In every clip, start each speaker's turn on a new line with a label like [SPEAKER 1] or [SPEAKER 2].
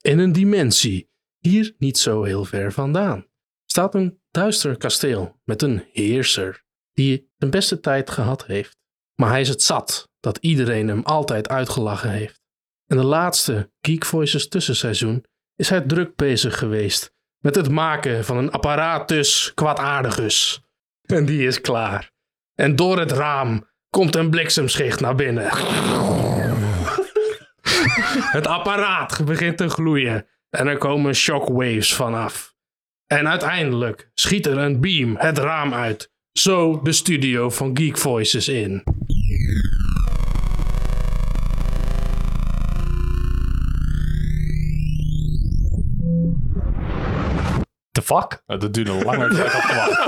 [SPEAKER 1] en een dimensie. Hier niet zo heel ver vandaan staat een duister kasteel met een heerser die zijn beste tijd gehad heeft. Maar hij is het zat dat iedereen hem altijd uitgelachen heeft. En de laatste Geek Voices tussenseizoen is hij druk bezig geweest met het maken van een apparatus kwaadaardigus. En die is klaar. En door het raam komt een bliksemschicht naar binnen. het apparaat begint te gloeien en er komen shockwaves vanaf. En uiteindelijk schiet er een beam het raam uit. Zo de studio van Geek Voices in.
[SPEAKER 2] The fuck?
[SPEAKER 3] Nou, dat duurde langer dan ik had verwacht.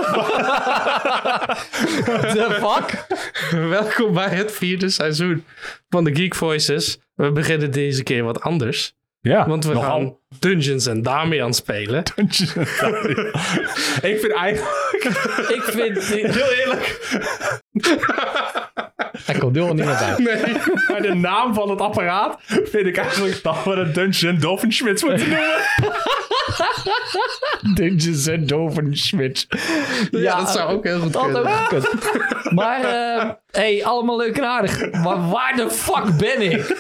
[SPEAKER 2] The fuck?
[SPEAKER 1] Welkom bij het vierde seizoen van de Geek Voices. We beginnen deze keer wat anders.
[SPEAKER 3] Ja,
[SPEAKER 1] Want we
[SPEAKER 3] nogal.
[SPEAKER 1] gaan Dungeons en Damian spelen.
[SPEAKER 3] ik vind eigenlijk...
[SPEAKER 2] Ik vind... die-
[SPEAKER 3] Heel eerlijk.
[SPEAKER 2] Hij komt nu al niet meer bij.
[SPEAKER 1] Nee.
[SPEAKER 3] Maar de naam van het apparaat vind ik eigenlijk dat we een Dungeon Doofenschmits moeten noemen.
[SPEAKER 2] Dungeons and Dovenschmidt.
[SPEAKER 1] Ja, dat zou ook heel goed
[SPEAKER 2] Dat had
[SPEAKER 1] kunnen.
[SPEAKER 2] ook gekund. Maar, eh, hey, allemaal leuk en aardig. Maar waar de fuck ben ik?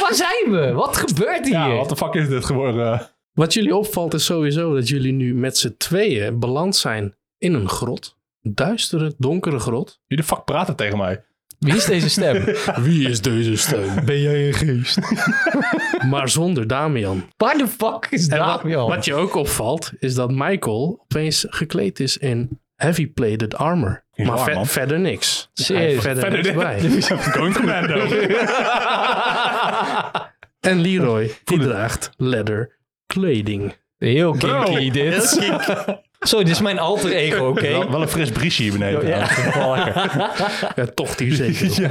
[SPEAKER 2] Waar zijn we? Wat gebeurt hier?
[SPEAKER 3] Ja, wat de fuck is dit geworden?
[SPEAKER 1] Wat jullie opvalt is sowieso dat jullie nu met z'n tweeën beland zijn in een grot. Een duistere, donkere grot.
[SPEAKER 3] Wie de fuck praat er tegen mij?
[SPEAKER 2] Wie is deze stem?
[SPEAKER 1] Wie is deze steun?
[SPEAKER 3] Ben jij een geest?
[SPEAKER 1] Maar zonder Damian.
[SPEAKER 2] Waar de fuck is
[SPEAKER 1] En wat,
[SPEAKER 2] Damian?
[SPEAKER 1] wat je ook opvalt, is dat Michael opeens gekleed is in heavy plated armor.
[SPEAKER 3] Raar,
[SPEAKER 1] maar ver-
[SPEAKER 3] man.
[SPEAKER 1] verder niks.
[SPEAKER 2] Serieus?
[SPEAKER 1] Hij- Verder,
[SPEAKER 3] Verder
[SPEAKER 1] niks
[SPEAKER 3] dit.
[SPEAKER 1] bij.
[SPEAKER 3] is een Going Commando.
[SPEAKER 1] En Leroy, die draagt leather kleding.
[SPEAKER 2] Heel kinky dit. Zo, dit is mijn alter ego, oké?
[SPEAKER 3] Wel, wel een fris briesje hier beneden.
[SPEAKER 2] Ja.
[SPEAKER 3] trouwens. Wel lekker.
[SPEAKER 1] Ja, toch die zeker. op.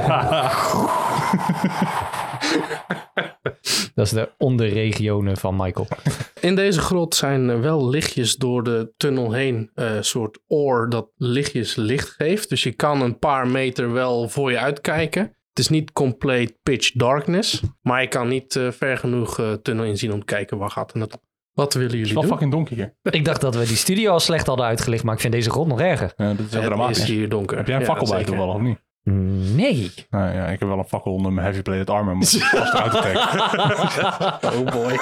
[SPEAKER 2] Dat is de onderregionen van Michael.
[SPEAKER 1] In deze grot zijn eh, wel lichtjes door de tunnel heen. eh, Een soort oor dat lichtjes licht geeft. Dus je kan een paar meter wel voor je uitkijken. Het is niet compleet pitch darkness. Maar je kan niet eh, ver genoeg eh, tunnel inzien om te kijken waar gaat het naartoe. Wat willen jullie
[SPEAKER 3] Wel
[SPEAKER 1] doen?
[SPEAKER 3] fucking donker hier.
[SPEAKER 2] Ik dacht dat we die studio al slecht hadden uitgelicht, maar ik vind deze grot nog erger.
[SPEAKER 3] Ja, dat is heel
[SPEAKER 1] Het
[SPEAKER 3] dramatisch.
[SPEAKER 1] is hier donker.
[SPEAKER 3] Heb jij een
[SPEAKER 1] Ja,
[SPEAKER 3] fakkel bij
[SPEAKER 1] zeker.
[SPEAKER 3] toevallig of niet?
[SPEAKER 2] Nee.
[SPEAKER 3] Nou ja, ik heb wel een fakkel onder mijn heavy plated armor. Maar ik vast eruit te trekken.
[SPEAKER 1] Oh boy.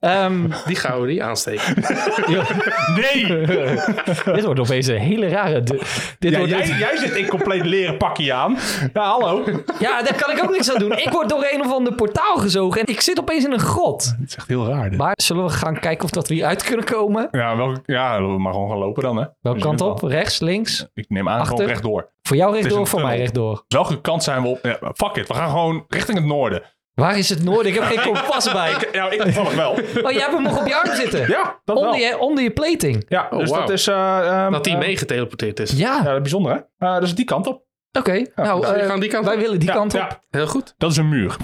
[SPEAKER 2] Ehm,
[SPEAKER 1] Die gaan we niet aansteken.
[SPEAKER 2] joh,
[SPEAKER 3] Nee!
[SPEAKER 2] dit wordt opeens een hele rare... Dit, dit
[SPEAKER 3] Ja,
[SPEAKER 2] wordt
[SPEAKER 3] jij,
[SPEAKER 2] een-
[SPEAKER 3] jij zit in compleet leren pakje aan. Ja, hallo.
[SPEAKER 2] ja, daar kan ik ook niks aan doen. Ik word door een of ander portaal gezogen en ik zit opeens in een grot.
[SPEAKER 3] Het is echt heel raar dit.
[SPEAKER 2] Maar zullen we gaan kijken of dat we hieruit kunnen komen?
[SPEAKER 3] Ja, wel, ja, we maar gewoon gaan lopen dan, hè.
[SPEAKER 2] Welke
[SPEAKER 3] Dus
[SPEAKER 2] kant
[SPEAKER 3] in ieder
[SPEAKER 2] op? Rechts, links?
[SPEAKER 3] geval, Ik neem aan,
[SPEAKER 2] Achter?
[SPEAKER 3] gewoon rechtdoor.
[SPEAKER 2] Voor jou
[SPEAKER 3] is
[SPEAKER 2] rechtdoor,
[SPEAKER 3] een
[SPEAKER 2] voor mij
[SPEAKER 3] tunnel.
[SPEAKER 2] rechtdoor.
[SPEAKER 3] Welke kant zijn we op? Ja, fuck it, we gaan gewoon richting het noorden.
[SPEAKER 2] Waar is het noorden? Ik heb geen kompas bij.
[SPEAKER 3] Ja, ik toevallig wel.
[SPEAKER 2] Oh, jij hebt hem nog op je arm zitten.
[SPEAKER 3] Ja, dat wel.
[SPEAKER 2] Onder je, onder je plating.
[SPEAKER 3] Ja,
[SPEAKER 1] Oh,
[SPEAKER 3] dus
[SPEAKER 1] wauw.
[SPEAKER 3] dat is... eh, ehm,
[SPEAKER 1] Dat die
[SPEAKER 3] eh,
[SPEAKER 1] meegeteleporteerd is.
[SPEAKER 2] Ja,
[SPEAKER 3] Ja, bijzonder, hè? Eh, dus die kant op.
[SPEAKER 2] oké. Nou,
[SPEAKER 1] We
[SPEAKER 2] eh,
[SPEAKER 1] gaan Oh, die kant
[SPEAKER 2] wij
[SPEAKER 1] op.
[SPEAKER 2] willen die
[SPEAKER 3] Ja,
[SPEAKER 2] kant op.
[SPEAKER 3] ja,
[SPEAKER 1] Heel goed.
[SPEAKER 3] dat is een muur.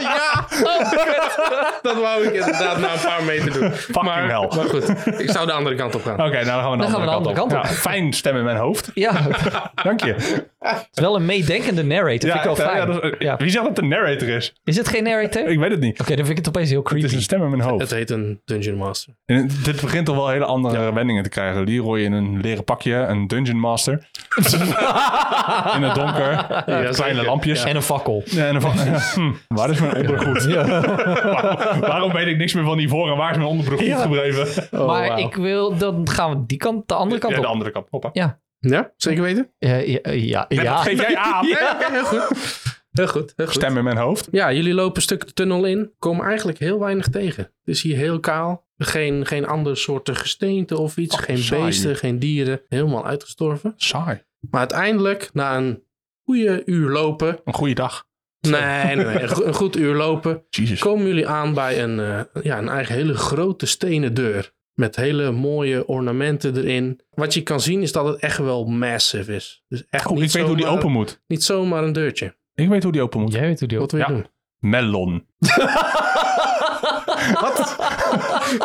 [SPEAKER 1] Ja, dat wou ik inderdaad na een paar meter doen.
[SPEAKER 3] Fucking
[SPEAKER 1] maar,
[SPEAKER 3] hell.
[SPEAKER 1] maar goed, ik zou de andere kant op gaan.
[SPEAKER 3] Oké, nou dan gaan we naar
[SPEAKER 2] Dan gaan we
[SPEAKER 3] de andere kant, op.
[SPEAKER 2] op.
[SPEAKER 3] Ja, fijn stem in mijn hoofd.
[SPEAKER 2] Ja, het
[SPEAKER 3] Dank je.
[SPEAKER 2] is wel een meedenkende narrator.
[SPEAKER 3] Ja,
[SPEAKER 2] vind ik wel
[SPEAKER 3] echt, hè?
[SPEAKER 2] fijn.
[SPEAKER 3] Ja, dat is-
[SPEAKER 2] Ja.
[SPEAKER 3] Wie zegt dat de narrator is?
[SPEAKER 2] Is het geen narrator? Oké,
[SPEAKER 3] Ik weet het niet.
[SPEAKER 2] dan vind ik het opeens heel
[SPEAKER 3] Het is
[SPEAKER 2] creepy.
[SPEAKER 3] een stem in mijn hoofd.
[SPEAKER 1] Het heet een Dungeon Master.
[SPEAKER 3] En het- dit begint al wel hele andere wendingen te krijgen. Leroy in een leren pakje, een dungeon master. in het donker,
[SPEAKER 1] zeker.
[SPEAKER 3] kleine lampjes.
[SPEAKER 2] En een fakkel.
[SPEAKER 3] Ja, Oh, En dan van, hm, waar is mijn onderbroek? Waar- waarom weet ik niks meer van hiervoor en waar is mijn onderbroek goed gebleven?
[SPEAKER 2] maar
[SPEAKER 1] wauw.
[SPEAKER 2] ik wil, dan gaan we die kant, de andere kant
[SPEAKER 3] Ja, de
[SPEAKER 2] op.
[SPEAKER 3] andere kant. Hoppa.
[SPEAKER 1] Ja, zeker weten?
[SPEAKER 2] Eh, ja, ja, ja.
[SPEAKER 3] Dat geef jij aan.
[SPEAKER 1] oké, heel goed. Heel goed, heel goed.
[SPEAKER 3] Stem in mijn hoofd.
[SPEAKER 1] Ja, jullie lopen een stuk de tunnel in. Komen eigenlijk heel weinig tegen. Het is hier heel kaal. Geen, geen andere soorten gesteente of iets.
[SPEAKER 3] Oh,
[SPEAKER 1] geen
[SPEAKER 3] saai.
[SPEAKER 1] beesten, geen dieren. Helemaal uitgestorven.
[SPEAKER 3] Saai.
[SPEAKER 1] Maar uiteindelijk, na een goede uur lopen...
[SPEAKER 3] Een goede dag.
[SPEAKER 1] Nee, nee, nee. Een, go- een goed uur lopen.
[SPEAKER 3] Jesus.
[SPEAKER 1] Komen jullie aan bij een, eh, ja, een eigen hele grote stenen deur. Met hele mooie ornamenten erin. Wat je kan zien is dat het echt wel massive is. Dus echt
[SPEAKER 3] Oh,
[SPEAKER 1] niet,
[SPEAKER 3] ik weet hoe die
[SPEAKER 1] zomaar-
[SPEAKER 3] open moet.
[SPEAKER 1] niet zomaar een deurtje.
[SPEAKER 3] Ik weet hoe die open moet.
[SPEAKER 2] Jij weet hoe die
[SPEAKER 1] Wat wil je
[SPEAKER 3] Ja.
[SPEAKER 1] doen?
[SPEAKER 3] Melon. Wat?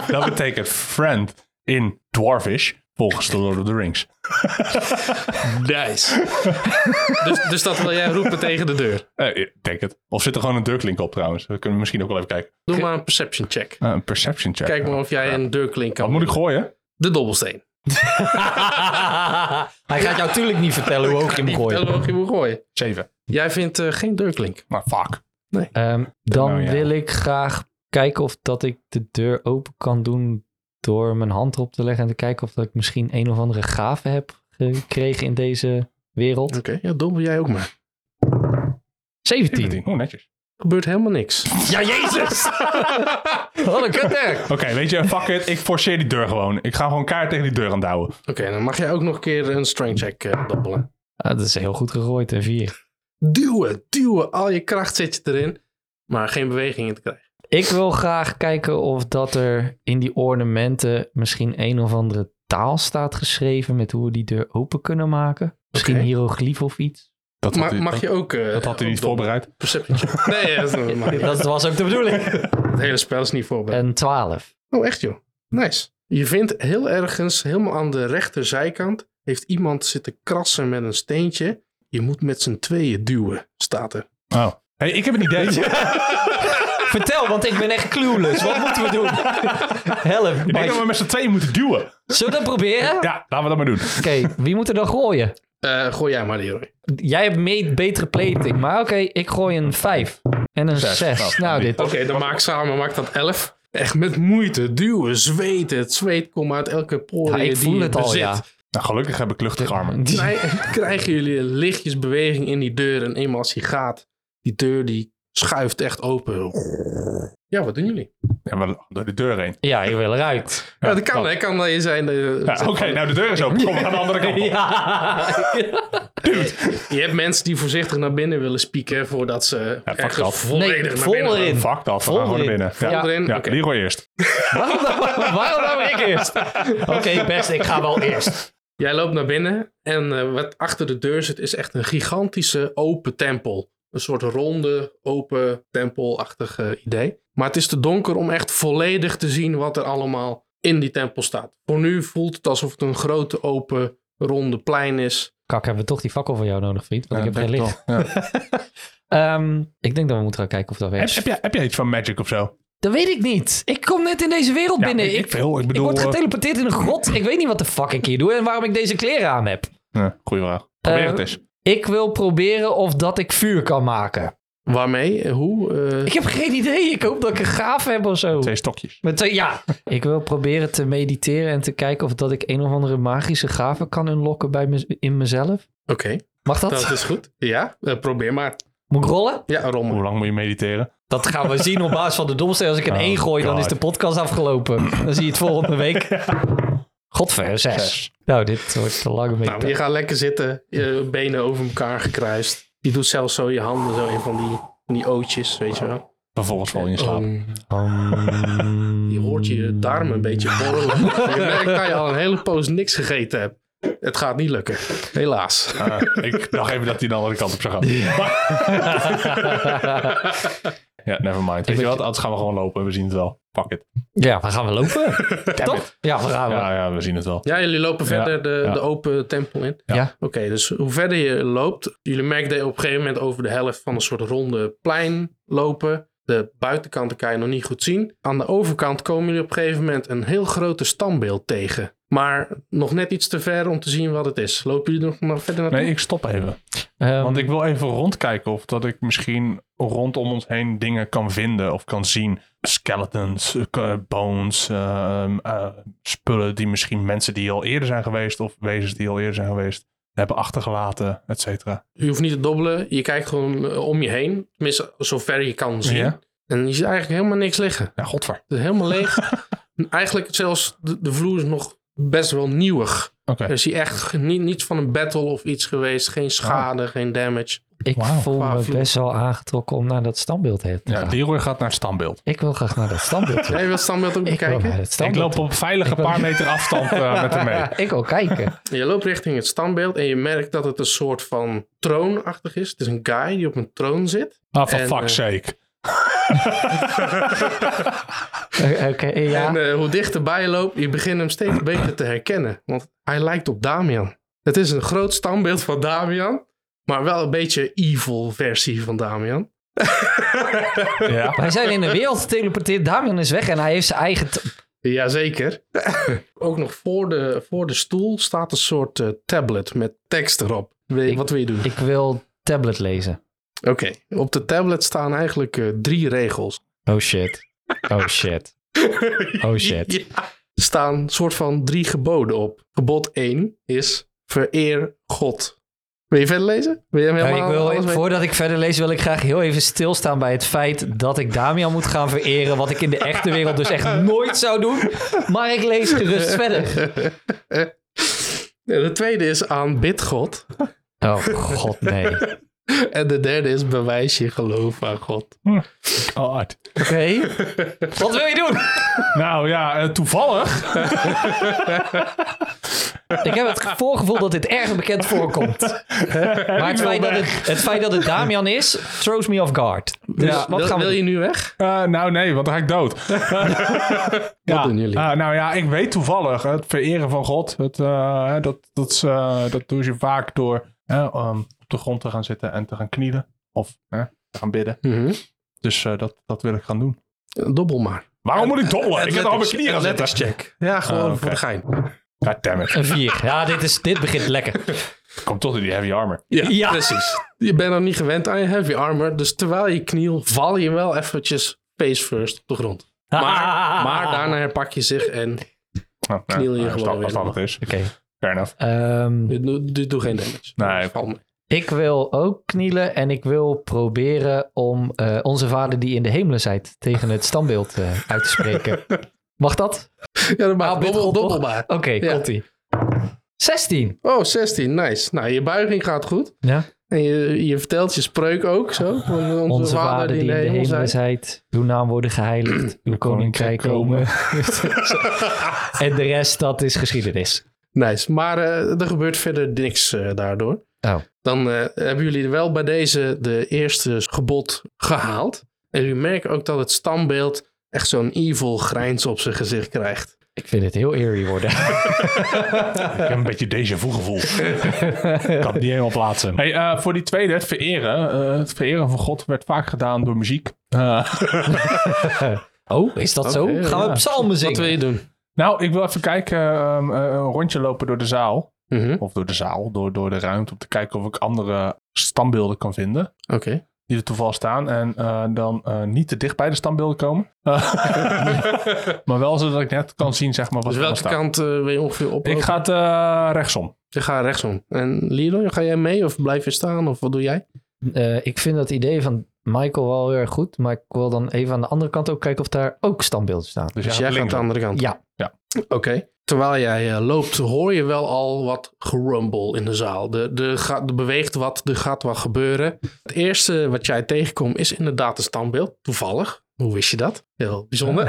[SPEAKER 3] dat betekent friend in Dwarvish. Volgens The Lord of the Rings.
[SPEAKER 1] Nice. dus, dus dat wil jij roepen tegen de deur.
[SPEAKER 3] Eh, ik denk het. Of zit er gewoon een deurklink op trouwens? Dat kunnen we misschien ook wel even kijken.
[SPEAKER 1] Doe maar een perception check.
[SPEAKER 3] Eh, een perception check.
[SPEAKER 1] Kijk maar of jij een deurklink
[SPEAKER 3] Wat
[SPEAKER 1] kan.
[SPEAKER 3] moet ik gooien?
[SPEAKER 1] De dobbelsteen.
[SPEAKER 2] Hij gaat jou natuurlijk niet vertellen hoe hoog je hem gooit.
[SPEAKER 1] Tel je moet gooien.
[SPEAKER 3] Zeven.
[SPEAKER 1] Jij vindt eh, geen deurklink.
[SPEAKER 3] Maar fuck.
[SPEAKER 2] Ehm, dan
[SPEAKER 3] Nou ja.
[SPEAKER 2] wil ik graag kijken of dat ik de deur open kan doen door mijn hand erop te leggen en te kijken of dat ik misschien een of andere gave heb gekregen in deze
[SPEAKER 1] Oké,
[SPEAKER 2] wereld.
[SPEAKER 1] ja, dobbel jij ook maar.
[SPEAKER 2] 17.
[SPEAKER 3] Tien. Oh, netjes.
[SPEAKER 1] Gebeurt helemaal niks.
[SPEAKER 2] Ja, jezus! Wat een kutter.
[SPEAKER 3] Oké, weet je, fuck it. Ik forceer die deur gewoon. Ik ga gewoon kaart tegen die deur aan douwen.
[SPEAKER 1] Oké, dan mag jij ook nog een keer een strength check eh, dobbelen.
[SPEAKER 2] Ah, dat is heel goed gegooid, een 4.
[SPEAKER 1] Duwen, duwen. Al je kracht zit je erin. Maar geen beweging in te krijgen.
[SPEAKER 2] Ik wil graag kijken of dat er in die ornamenten misschien een of andere taal staat geschreven met hoe we die deur open kunnen maken. Misschien
[SPEAKER 1] Oké.
[SPEAKER 2] hieroglyf of iets.
[SPEAKER 3] Dat
[SPEAKER 1] Ma- mag je ook... eh,
[SPEAKER 3] dat had hij niet
[SPEAKER 1] ook dobbelen?
[SPEAKER 3] voorbereid.
[SPEAKER 1] Perception check. Nee, ja, dat mag niet.
[SPEAKER 2] Dat was ook de bedoeling.
[SPEAKER 1] het hele spel is niet voorbereid.
[SPEAKER 2] Een 12.
[SPEAKER 1] Oh, echt joh. Nice. Je vindt heel ergens, helemaal aan de rechterzijkant, heeft iemand zitten krassen met een steentje. Je moet met z'n tweeën duwen, staat er.
[SPEAKER 3] Oh. Hey, ik heb een idee.
[SPEAKER 2] Vertel, want ik ben echt clueless. Wat moeten we doen? Help.
[SPEAKER 3] Ik denk dat we met z'n tweeën moeten duwen.
[SPEAKER 2] Zullen we dat proberen?
[SPEAKER 3] Ja, laten we dat maar doen.
[SPEAKER 2] Oké, wie moet er dan gooien?
[SPEAKER 1] Eh, gooi jij maar, Leroy.
[SPEAKER 2] Jij hebt mee, betere plating, maar oké, ik gooi een 5 en een
[SPEAKER 3] Zes.
[SPEAKER 2] 6.
[SPEAKER 3] Nou,
[SPEAKER 2] Nou,
[SPEAKER 3] die-
[SPEAKER 2] dit.
[SPEAKER 1] Oké, dan maak samen maak dat 11. Echt met moeite duwen, zweten. Het zweet komt uit elke
[SPEAKER 2] Ja,
[SPEAKER 1] pore
[SPEAKER 2] ik
[SPEAKER 1] die
[SPEAKER 2] voel
[SPEAKER 1] je
[SPEAKER 2] het al,
[SPEAKER 1] bezit.
[SPEAKER 2] ja.
[SPEAKER 3] Nou, gelukkig heb ik luchtige armen.
[SPEAKER 2] Die-
[SPEAKER 1] Krij- krijgen jullie lichtjes beweging in die deur. En eenmaal als die gaat, die deur die schuift echt open. Ja, wat doen jullie?
[SPEAKER 3] Ja, we door de deur heen.
[SPEAKER 2] Ja, ik wil eruit.
[SPEAKER 1] Ja, dat kan, hè? Kan dat je zijn... eh, dat je-
[SPEAKER 3] Ja, Oké, nou de deur is open. Kom, we gaan de andere kant op.
[SPEAKER 2] Ja.
[SPEAKER 1] Je hebt mensen die voorzichtig naar binnen willen spieken voordat ze
[SPEAKER 3] fuck
[SPEAKER 1] ergens
[SPEAKER 3] dat.
[SPEAKER 1] volledig
[SPEAKER 2] Nee,
[SPEAKER 1] naar
[SPEAKER 2] vol
[SPEAKER 1] binnen gaan.
[SPEAKER 2] erin.
[SPEAKER 3] Fuck dat, we gaan gewoon naar binnen. Ja,
[SPEAKER 1] Vol
[SPEAKER 2] Ja.
[SPEAKER 1] erin?
[SPEAKER 3] ja
[SPEAKER 1] Oké.
[SPEAKER 3] Leroy eerst.
[SPEAKER 2] Waarom dan, waarom dan ik eerst? Oké, best, ik ga wel eerst.
[SPEAKER 1] Jij loopt naar binnen en eh, wat achter de deur zit is echt een gigantische open tempel. Een soort ronde, open, tempelachtig eh, idee. Maar het is te donker om echt volledig te zien wat er allemaal in die tempel staat. Voor nu voelt het alsof het een grote, open, ronde plein is.
[SPEAKER 2] Kak, hebben we toch die fakkel van jou nodig, vriend? Want ik heb geen
[SPEAKER 3] Ja,
[SPEAKER 2] licht.
[SPEAKER 3] denk ik wel. Ja.
[SPEAKER 2] Ehm, ik denk dat we moeten gaan kijken of dat
[SPEAKER 3] heb,
[SPEAKER 2] werkt.
[SPEAKER 3] heb, jij, heb jij iets van magic of zo?
[SPEAKER 2] Dat weet ik niet. Ik kom net in deze wereld binnen.
[SPEAKER 3] weet
[SPEAKER 2] Ik,
[SPEAKER 3] veel. Ik
[SPEAKER 2] ik
[SPEAKER 3] bedoel...
[SPEAKER 2] word
[SPEAKER 3] eh,
[SPEAKER 2] geteleporteerd in een grot. Ik weet niet wat de fuck ik hier doe en waarom ik deze kleren aan heb.
[SPEAKER 3] ja, goeie vraag. Probeer
[SPEAKER 2] Eh,
[SPEAKER 3] het eens.
[SPEAKER 2] Ik wil proberen of dat ik vuur kan maken.
[SPEAKER 1] Waarmee? Eh, Hoe? Eh,
[SPEAKER 2] Ik heb geen idee. Ik hoop dat ik een gaaf heb of zo.
[SPEAKER 3] Twee stokjes.
[SPEAKER 2] Met twee- ja. ik wil proberen te mediteren en te kijken of dat ik een of andere magische gave kan unlocken bij mez- in mezelf.
[SPEAKER 1] Oké,
[SPEAKER 2] Mag dat?
[SPEAKER 1] dat is goed. Ja, eh, probeer maar.
[SPEAKER 2] Moet ik rollen?
[SPEAKER 1] Ja, rommel.
[SPEAKER 3] Hoe lang moet je mediteren?
[SPEAKER 2] Dat gaan we zien op basis van de domsteen. Als ik een
[SPEAKER 3] Oh,
[SPEAKER 2] 1 gooi, dan
[SPEAKER 3] God.
[SPEAKER 2] is de podcast afgelopen. Dan zie je het volgende week. Godver, 6. Nou, dit wordt te lang mee.
[SPEAKER 1] Nou, je gaat lekker zitten, je benen over elkaar gekruist. Je doet zelfs zo je handen zo in van die, van die ootjes, weet je wel.
[SPEAKER 3] Vervolgens val je in slaap.
[SPEAKER 1] Om-
[SPEAKER 2] Ehm,
[SPEAKER 1] Je hoort je darmen een beetje borrelen. je merkt dat je al een hele poos niks gegeten hebt. Het gaat niet lukken, helaas.
[SPEAKER 3] Ah, ik dacht even dat hij de andere kant op zou gaan. ja, never mind. Weet je wat? Anders gaan we gewoon lopen. We zien het wel. Fuck it.
[SPEAKER 2] Ja, we gaan we lopen. Toch? Ja, we gaan we.
[SPEAKER 3] Ja, ja, we zien het wel.
[SPEAKER 1] Ja, jullie lopen verder de,
[SPEAKER 3] ja.
[SPEAKER 1] de open tempel in.
[SPEAKER 2] Ja.
[SPEAKER 1] Oké, dus hoe verder je loopt, jullie merken dat je op een gegeven moment over de helft van een soort ronde plein lopen. De buitenkanten kan je nog niet goed zien. Aan de overkant komen jullie op een gegeven moment een heel grote standbeeld tegen. Maar nog net iets te ver om te zien wat het is. Lopen jullie nog maar verder naartoe?
[SPEAKER 3] Nee, ik stop even.
[SPEAKER 2] Ehm,
[SPEAKER 3] Want ik wil even rondkijken of dat ik misschien rondom ons heen dingen kan vinden of kan zien. Skeletons, eh, k- bones, ehm, eh, spullen die misschien mensen die al eerder zijn geweest of wezens die al eerder zijn geweest hebben achtergelaten, et cetera.
[SPEAKER 1] Je hoeft niet te dobbelen. Je kijkt gewoon eh, om je heen. Tenminste, zover je kan zien.
[SPEAKER 3] Ja.
[SPEAKER 1] En je ziet eigenlijk helemaal niks liggen.
[SPEAKER 3] Ja, godver.
[SPEAKER 1] Het is helemaal leeg. En eigenlijk zelfs de, de vloer is nog best wel nieuwig.
[SPEAKER 3] Oké.
[SPEAKER 1] Er Dus is hier echt ge- ni- niets van een battle of iets geweest. Geen schade, geen damage.
[SPEAKER 2] ik
[SPEAKER 3] Wauw.
[SPEAKER 2] voel
[SPEAKER 1] Wauw,
[SPEAKER 2] me
[SPEAKER 1] vloed.
[SPEAKER 2] best wel aangetrokken om naar dat standbeeld heen te
[SPEAKER 3] Ja,
[SPEAKER 2] gaan.
[SPEAKER 3] Leroy gaat naar het standbeeld.
[SPEAKER 2] Ik wil graag naar dat standbeeld. toe.
[SPEAKER 1] Jij wil het standbeeld ook
[SPEAKER 2] ik wil naar
[SPEAKER 1] bekijken?
[SPEAKER 2] dat
[SPEAKER 3] Ik
[SPEAKER 2] standbeeld.
[SPEAKER 3] loop op veilige
[SPEAKER 2] Ik wil-
[SPEAKER 3] paar meter afstand eh, met hem mee.
[SPEAKER 2] Ik wil kijken.
[SPEAKER 1] Je loopt richting het standbeeld en je merkt dat het een soort van troonachtig is. Het is een guy
[SPEAKER 2] eh,
[SPEAKER 1] die op een troon zit.
[SPEAKER 3] Ah, for
[SPEAKER 1] En,
[SPEAKER 3] fuck's sake.
[SPEAKER 2] Oké, ja.
[SPEAKER 1] En eh, hoe dichterbij je loopt, je begint hem steeds beter te herkennen. Want hij lijkt op Damian. Het is een groot standbeeld van Damian. Maar wel een beetje evil versie van Damian.
[SPEAKER 3] Ja.
[SPEAKER 2] Wij zijn in een wereld geteleporteerd. Damian is weg en hij heeft zijn eigen... t-
[SPEAKER 1] Jazeker. Ook nog voor de, voor de stoel staat een soort eh, tablet met tekst erop. Wil je-
[SPEAKER 2] Ik-
[SPEAKER 1] wat wil je doen?
[SPEAKER 2] Ik wil tablet lezen.
[SPEAKER 1] Oké, op de tablet staan eigenlijk eh, drie regels.
[SPEAKER 2] Oh shit. Oh shit. Oh shit.
[SPEAKER 1] Ja. Er staan een soort van drie geboden op. Gebod 1 is vereer God. Wil je verder lezen? Wil je hem
[SPEAKER 2] Ja,
[SPEAKER 1] helemaal
[SPEAKER 2] Nou, ik wil,
[SPEAKER 1] alles weten?
[SPEAKER 2] voordat ik verder lees, wil ik graag heel even stilstaan bij het feit dat ik Damian moet gaan vereren. Wat ik in de echte wereld dus echt nooit zou doen. Maar ik lees gerust verder.
[SPEAKER 1] Ja, De tweede is aanbid God.
[SPEAKER 2] Oh god, nee. Oké.
[SPEAKER 1] En de derde is bewijs je geloof aan God.
[SPEAKER 3] God.
[SPEAKER 2] Wat wil je doen?
[SPEAKER 3] Nou ja, eh, toevallig.
[SPEAKER 2] Ik heb het voorgevoel dat dit erg bekend voorkomt. Maar het feit, dat het, het feit dat het Damian is, throws me off guard. Dus
[SPEAKER 3] Ja,
[SPEAKER 2] wat
[SPEAKER 1] wil,
[SPEAKER 2] gaan we
[SPEAKER 1] wil
[SPEAKER 2] doen?
[SPEAKER 1] je nu weg?
[SPEAKER 3] Eh, nou nee, want dan ga ik dood.
[SPEAKER 1] Wat doen jullie?
[SPEAKER 3] Ah, nou ja, ik weet toevallig. Het vereren van God, het, eh, hè, dat, dat, is, eh, dat doe je vaak door hè, um, op de grond te gaan zitten en te gaan knielen. Of hè, te gaan bidden.
[SPEAKER 1] Mhm.
[SPEAKER 3] Dus eh, dat, dat wil ik gaan doen.
[SPEAKER 1] Dobbel maar.
[SPEAKER 3] Waarom moet ik dobbelen? Ik heb al op mijn
[SPEAKER 1] Athletics-
[SPEAKER 3] knieën gaan zitten.
[SPEAKER 1] athletics check. Ja, gewoon
[SPEAKER 3] Ah, oké.
[SPEAKER 1] voor de gein.
[SPEAKER 3] Goddammit.
[SPEAKER 2] Een vier. Ja, dit, is, dit begint lekker.
[SPEAKER 3] Kom toch in die heavy armor.
[SPEAKER 1] Ja,
[SPEAKER 2] Ja.
[SPEAKER 1] precies. Je bent nog niet gewend aan je heavy armor. Dus terwijl je kniel, val je wel eventjes face first op de grond. Maar,
[SPEAKER 2] Ah.
[SPEAKER 1] maar daarna herpak je zich en
[SPEAKER 3] Nou, nou,
[SPEAKER 1] Kniel je
[SPEAKER 3] nou,
[SPEAKER 1] gewoon
[SPEAKER 3] als dat-
[SPEAKER 1] weer.
[SPEAKER 3] Als dat het is.
[SPEAKER 2] Oké.
[SPEAKER 3] Fair enough.
[SPEAKER 2] Ehm,
[SPEAKER 1] je doet doe, doe geen damage.
[SPEAKER 3] Nee.
[SPEAKER 1] Val mee.
[SPEAKER 2] ik wil ook knielen en ik wil proberen om eh, onze vader die in de hemelen zijt tegen het standbeeld eh, uit te spreken. Mag dat?
[SPEAKER 1] Ja, dan maak je dobbel,
[SPEAKER 2] Ah, bitterop, toch?
[SPEAKER 1] dobbelbaar.
[SPEAKER 2] Oké,
[SPEAKER 1] Ja.
[SPEAKER 2] komt-ie. 16.
[SPEAKER 1] Oh, 16. Nice. Nou, je buiging gaat goed.
[SPEAKER 2] Ja.
[SPEAKER 1] En je, je vertelt je spreuk ook zo. Van onze,
[SPEAKER 2] Onze vader die in de hemelen zijt, uw naam worden geheiligd, uw koninkrijk komen. en de rest, dat is geschiedenis.
[SPEAKER 1] Nice. Maar eh, er gebeurt verder niks eh, daardoor.
[SPEAKER 2] Oh.
[SPEAKER 1] Dan eh, hebben jullie wel bij deze de eerste gebod gehaald. En jullie merken ook dat het standbeeld echt zo'n evil grijns op zijn gezicht krijgt.
[SPEAKER 2] Ik vind het heel eerie worden.
[SPEAKER 3] Ik heb een beetje déjà vu gevoel. ik kan het niet helemaal plaatsen. Hey, eh, voor die tweede, het vereren. eh, het vereren van God werd vaak gedaan door muziek. Eh,
[SPEAKER 2] oh, is dat zo?
[SPEAKER 1] Oké,
[SPEAKER 2] Gaan
[SPEAKER 1] ja.
[SPEAKER 2] we psalmen
[SPEAKER 1] Wat
[SPEAKER 2] zingen?
[SPEAKER 1] wil je doen?
[SPEAKER 3] nou, ik wil even kijken, ehm, eh, een rondje lopen door de zaal.
[SPEAKER 1] Mhm,
[SPEAKER 3] Of door de zaal, door, door de ruimte. Om te kijken of ik andere standbeelden kan vinden.
[SPEAKER 1] Oké.
[SPEAKER 3] Die er toevallig staan. En eh, dan eh, niet te dicht bij de standbeelden komen. Eh, maar wel zodat ik net kan zien, zeg maar, wat
[SPEAKER 1] Dus
[SPEAKER 3] er
[SPEAKER 1] welke
[SPEAKER 3] staat.
[SPEAKER 1] kant eh, wil je ongeveer op?
[SPEAKER 3] Ik ga het eh, rechtsom.
[SPEAKER 1] Je gaat rechtsom. En Leroy, ga jij mee of blijf je staan? Of wat doe jij?
[SPEAKER 2] Eh, ik vind dat idee van Michael wel heel erg goed, maar ik wil dan even aan de andere kant ook kijken of daar ook standbeelden staan.
[SPEAKER 3] Dus,
[SPEAKER 1] Dus
[SPEAKER 3] jij
[SPEAKER 1] jij gaat
[SPEAKER 3] links.
[SPEAKER 1] de andere kant.
[SPEAKER 2] Ja.
[SPEAKER 3] Ja.
[SPEAKER 1] Oké. Terwijl jij eh, loopt, hoor je wel al wat gerumble in de zaal. Er de, de, ga- er beweegt wat, er gaat wat gebeuren. Het eerste wat jij tegenkomt is inderdaad een standbeeld. Toevallig. Hoe wist je dat? Heel bijzonder.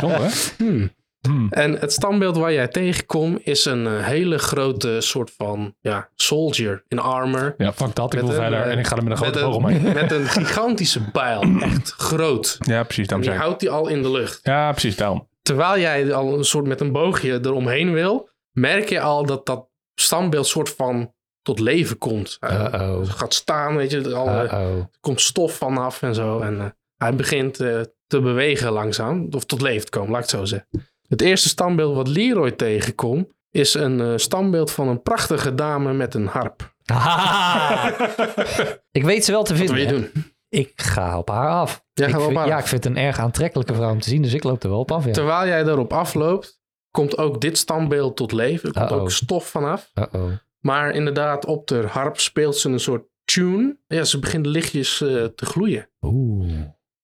[SPEAKER 3] Zonde, hè?
[SPEAKER 1] Hmm.
[SPEAKER 3] Hmm.
[SPEAKER 1] En het standbeeld waar jij tegenkomt is een eh, hele grote soort van ja, soldier in armor.
[SPEAKER 3] Ja, fuck dat. Ik
[SPEAKER 1] Met
[SPEAKER 3] wil
[SPEAKER 1] een,
[SPEAKER 3] verder
[SPEAKER 1] eh,
[SPEAKER 3] en ik ga er met een grote
[SPEAKER 1] met,
[SPEAKER 3] boog
[SPEAKER 1] een,
[SPEAKER 3] omheen.
[SPEAKER 1] met een gigantische bijl. Echt groot.
[SPEAKER 3] Ja, precies.
[SPEAKER 1] En
[SPEAKER 3] Daarom
[SPEAKER 1] die
[SPEAKER 3] zei ik.
[SPEAKER 1] houdt die al in de lucht.
[SPEAKER 3] Ja, precies. Daarom.
[SPEAKER 1] terwijl jij al een soort met een boogje eromheen wil, merk je al dat dat standbeeld soort van tot leven komt. Hij
[SPEAKER 2] Uh-oh.
[SPEAKER 1] gaat staan, weet je, er al, eh,
[SPEAKER 2] Uh-oh.
[SPEAKER 1] komt stof vanaf en zo. En eh, hij begint eh, te bewegen langzaam, of tot leven te komen, laat ik het zo zeggen. Het eerste standbeeld wat Leroy tegenkomt, is een eh, standbeeld van een prachtige dame met een harp.
[SPEAKER 2] ik weet ze wel te
[SPEAKER 1] Ah. Wat
[SPEAKER 2] vinden.
[SPEAKER 1] wil je
[SPEAKER 2] hè?
[SPEAKER 1] doen?
[SPEAKER 2] Ik ga op haar af.
[SPEAKER 1] Jij
[SPEAKER 2] ik
[SPEAKER 1] gaat op
[SPEAKER 2] vind,
[SPEAKER 1] haar
[SPEAKER 2] Ja,
[SPEAKER 1] af.
[SPEAKER 2] ik vind het een erg aantrekkelijke vrouw om te zien, dus ik loop er wel op af. Ja.
[SPEAKER 1] Terwijl jij daarop afloopt, komt ook dit standbeeld tot leven. Er komt
[SPEAKER 2] Uh-oh.
[SPEAKER 1] ook stof vanaf.
[SPEAKER 2] Uh-oh.
[SPEAKER 1] Maar inderdaad, op de harp speelt ze een soort tune. Ja, ze begint de lichtjes eh, te gloeien.
[SPEAKER 2] Oeh.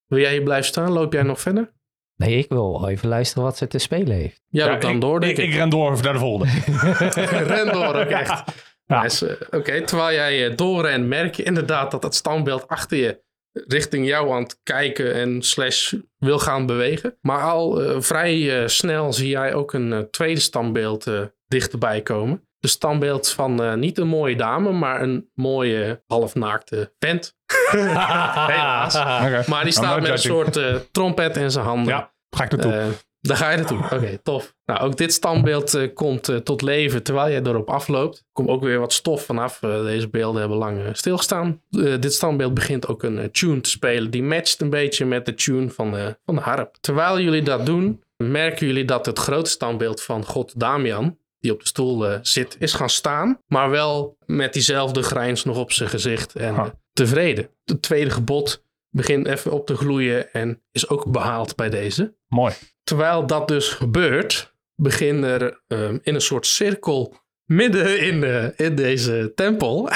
[SPEAKER 1] Wil jij hier blijven staan? Loop jij nog verder?
[SPEAKER 2] Nee, ik wil wel even luisteren wat ze te spelen heeft.
[SPEAKER 1] Ja,
[SPEAKER 3] Ja,
[SPEAKER 1] loop dan
[SPEAKER 3] ik,
[SPEAKER 1] door, denk
[SPEAKER 3] ik,
[SPEAKER 1] ik.
[SPEAKER 3] ik ren door naar de volgende.
[SPEAKER 1] Ren door ook echt.
[SPEAKER 3] Ja.
[SPEAKER 1] Nice. Eh, Oké, terwijl jij eh, doorrent, merk je inderdaad dat dat standbeeld achter je richting jou aan het kijken en slash wil gaan bewegen. Maar al eh, vrij eh, snel zie jij ook een eh, tweede standbeeld eh, dichterbij komen. de standbeeld van eh, niet een mooie dame, maar een mooie halfnaakte vent. Helaas.
[SPEAKER 3] Oké.
[SPEAKER 1] Ah. Maar die
[SPEAKER 3] I'm
[SPEAKER 1] staat
[SPEAKER 3] not
[SPEAKER 1] met een
[SPEAKER 3] judging.
[SPEAKER 1] soort eh, trompet in zijn handen.
[SPEAKER 3] Ja, ga ik naartoe.
[SPEAKER 1] Eh, daar ga je naartoe. Oké, tof. Nou, ook dit standbeeld eh, komt eh, tot leven terwijl jij erop afloopt. Er komt ook weer wat stof vanaf. Eh, deze beelden hebben lang eh, stilgestaan. Eh, dit standbeeld begint ook een eh, tune te spelen. Die matcht een beetje met de tune van de, van de harp. Terwijl jullie dat doen, merken jullie dat het grote standbeeld van God Damian, die op de stoel eh, zit, is gaan staan. Maar wel met diezelfde grijns nog op zijn gezicht en
[SPEAKER 3] Ha.
[SPEAKER 1] eh, tevreden. Het tweede gebod begint even op te gloeien en is ook behaald bij deze.
[SPEAKER 3] Mooi.
[SPEAKER 1] Terwijl dat dus gebeurt, begint er ehm, in een soort cirkel midden in, de, in deze tempel,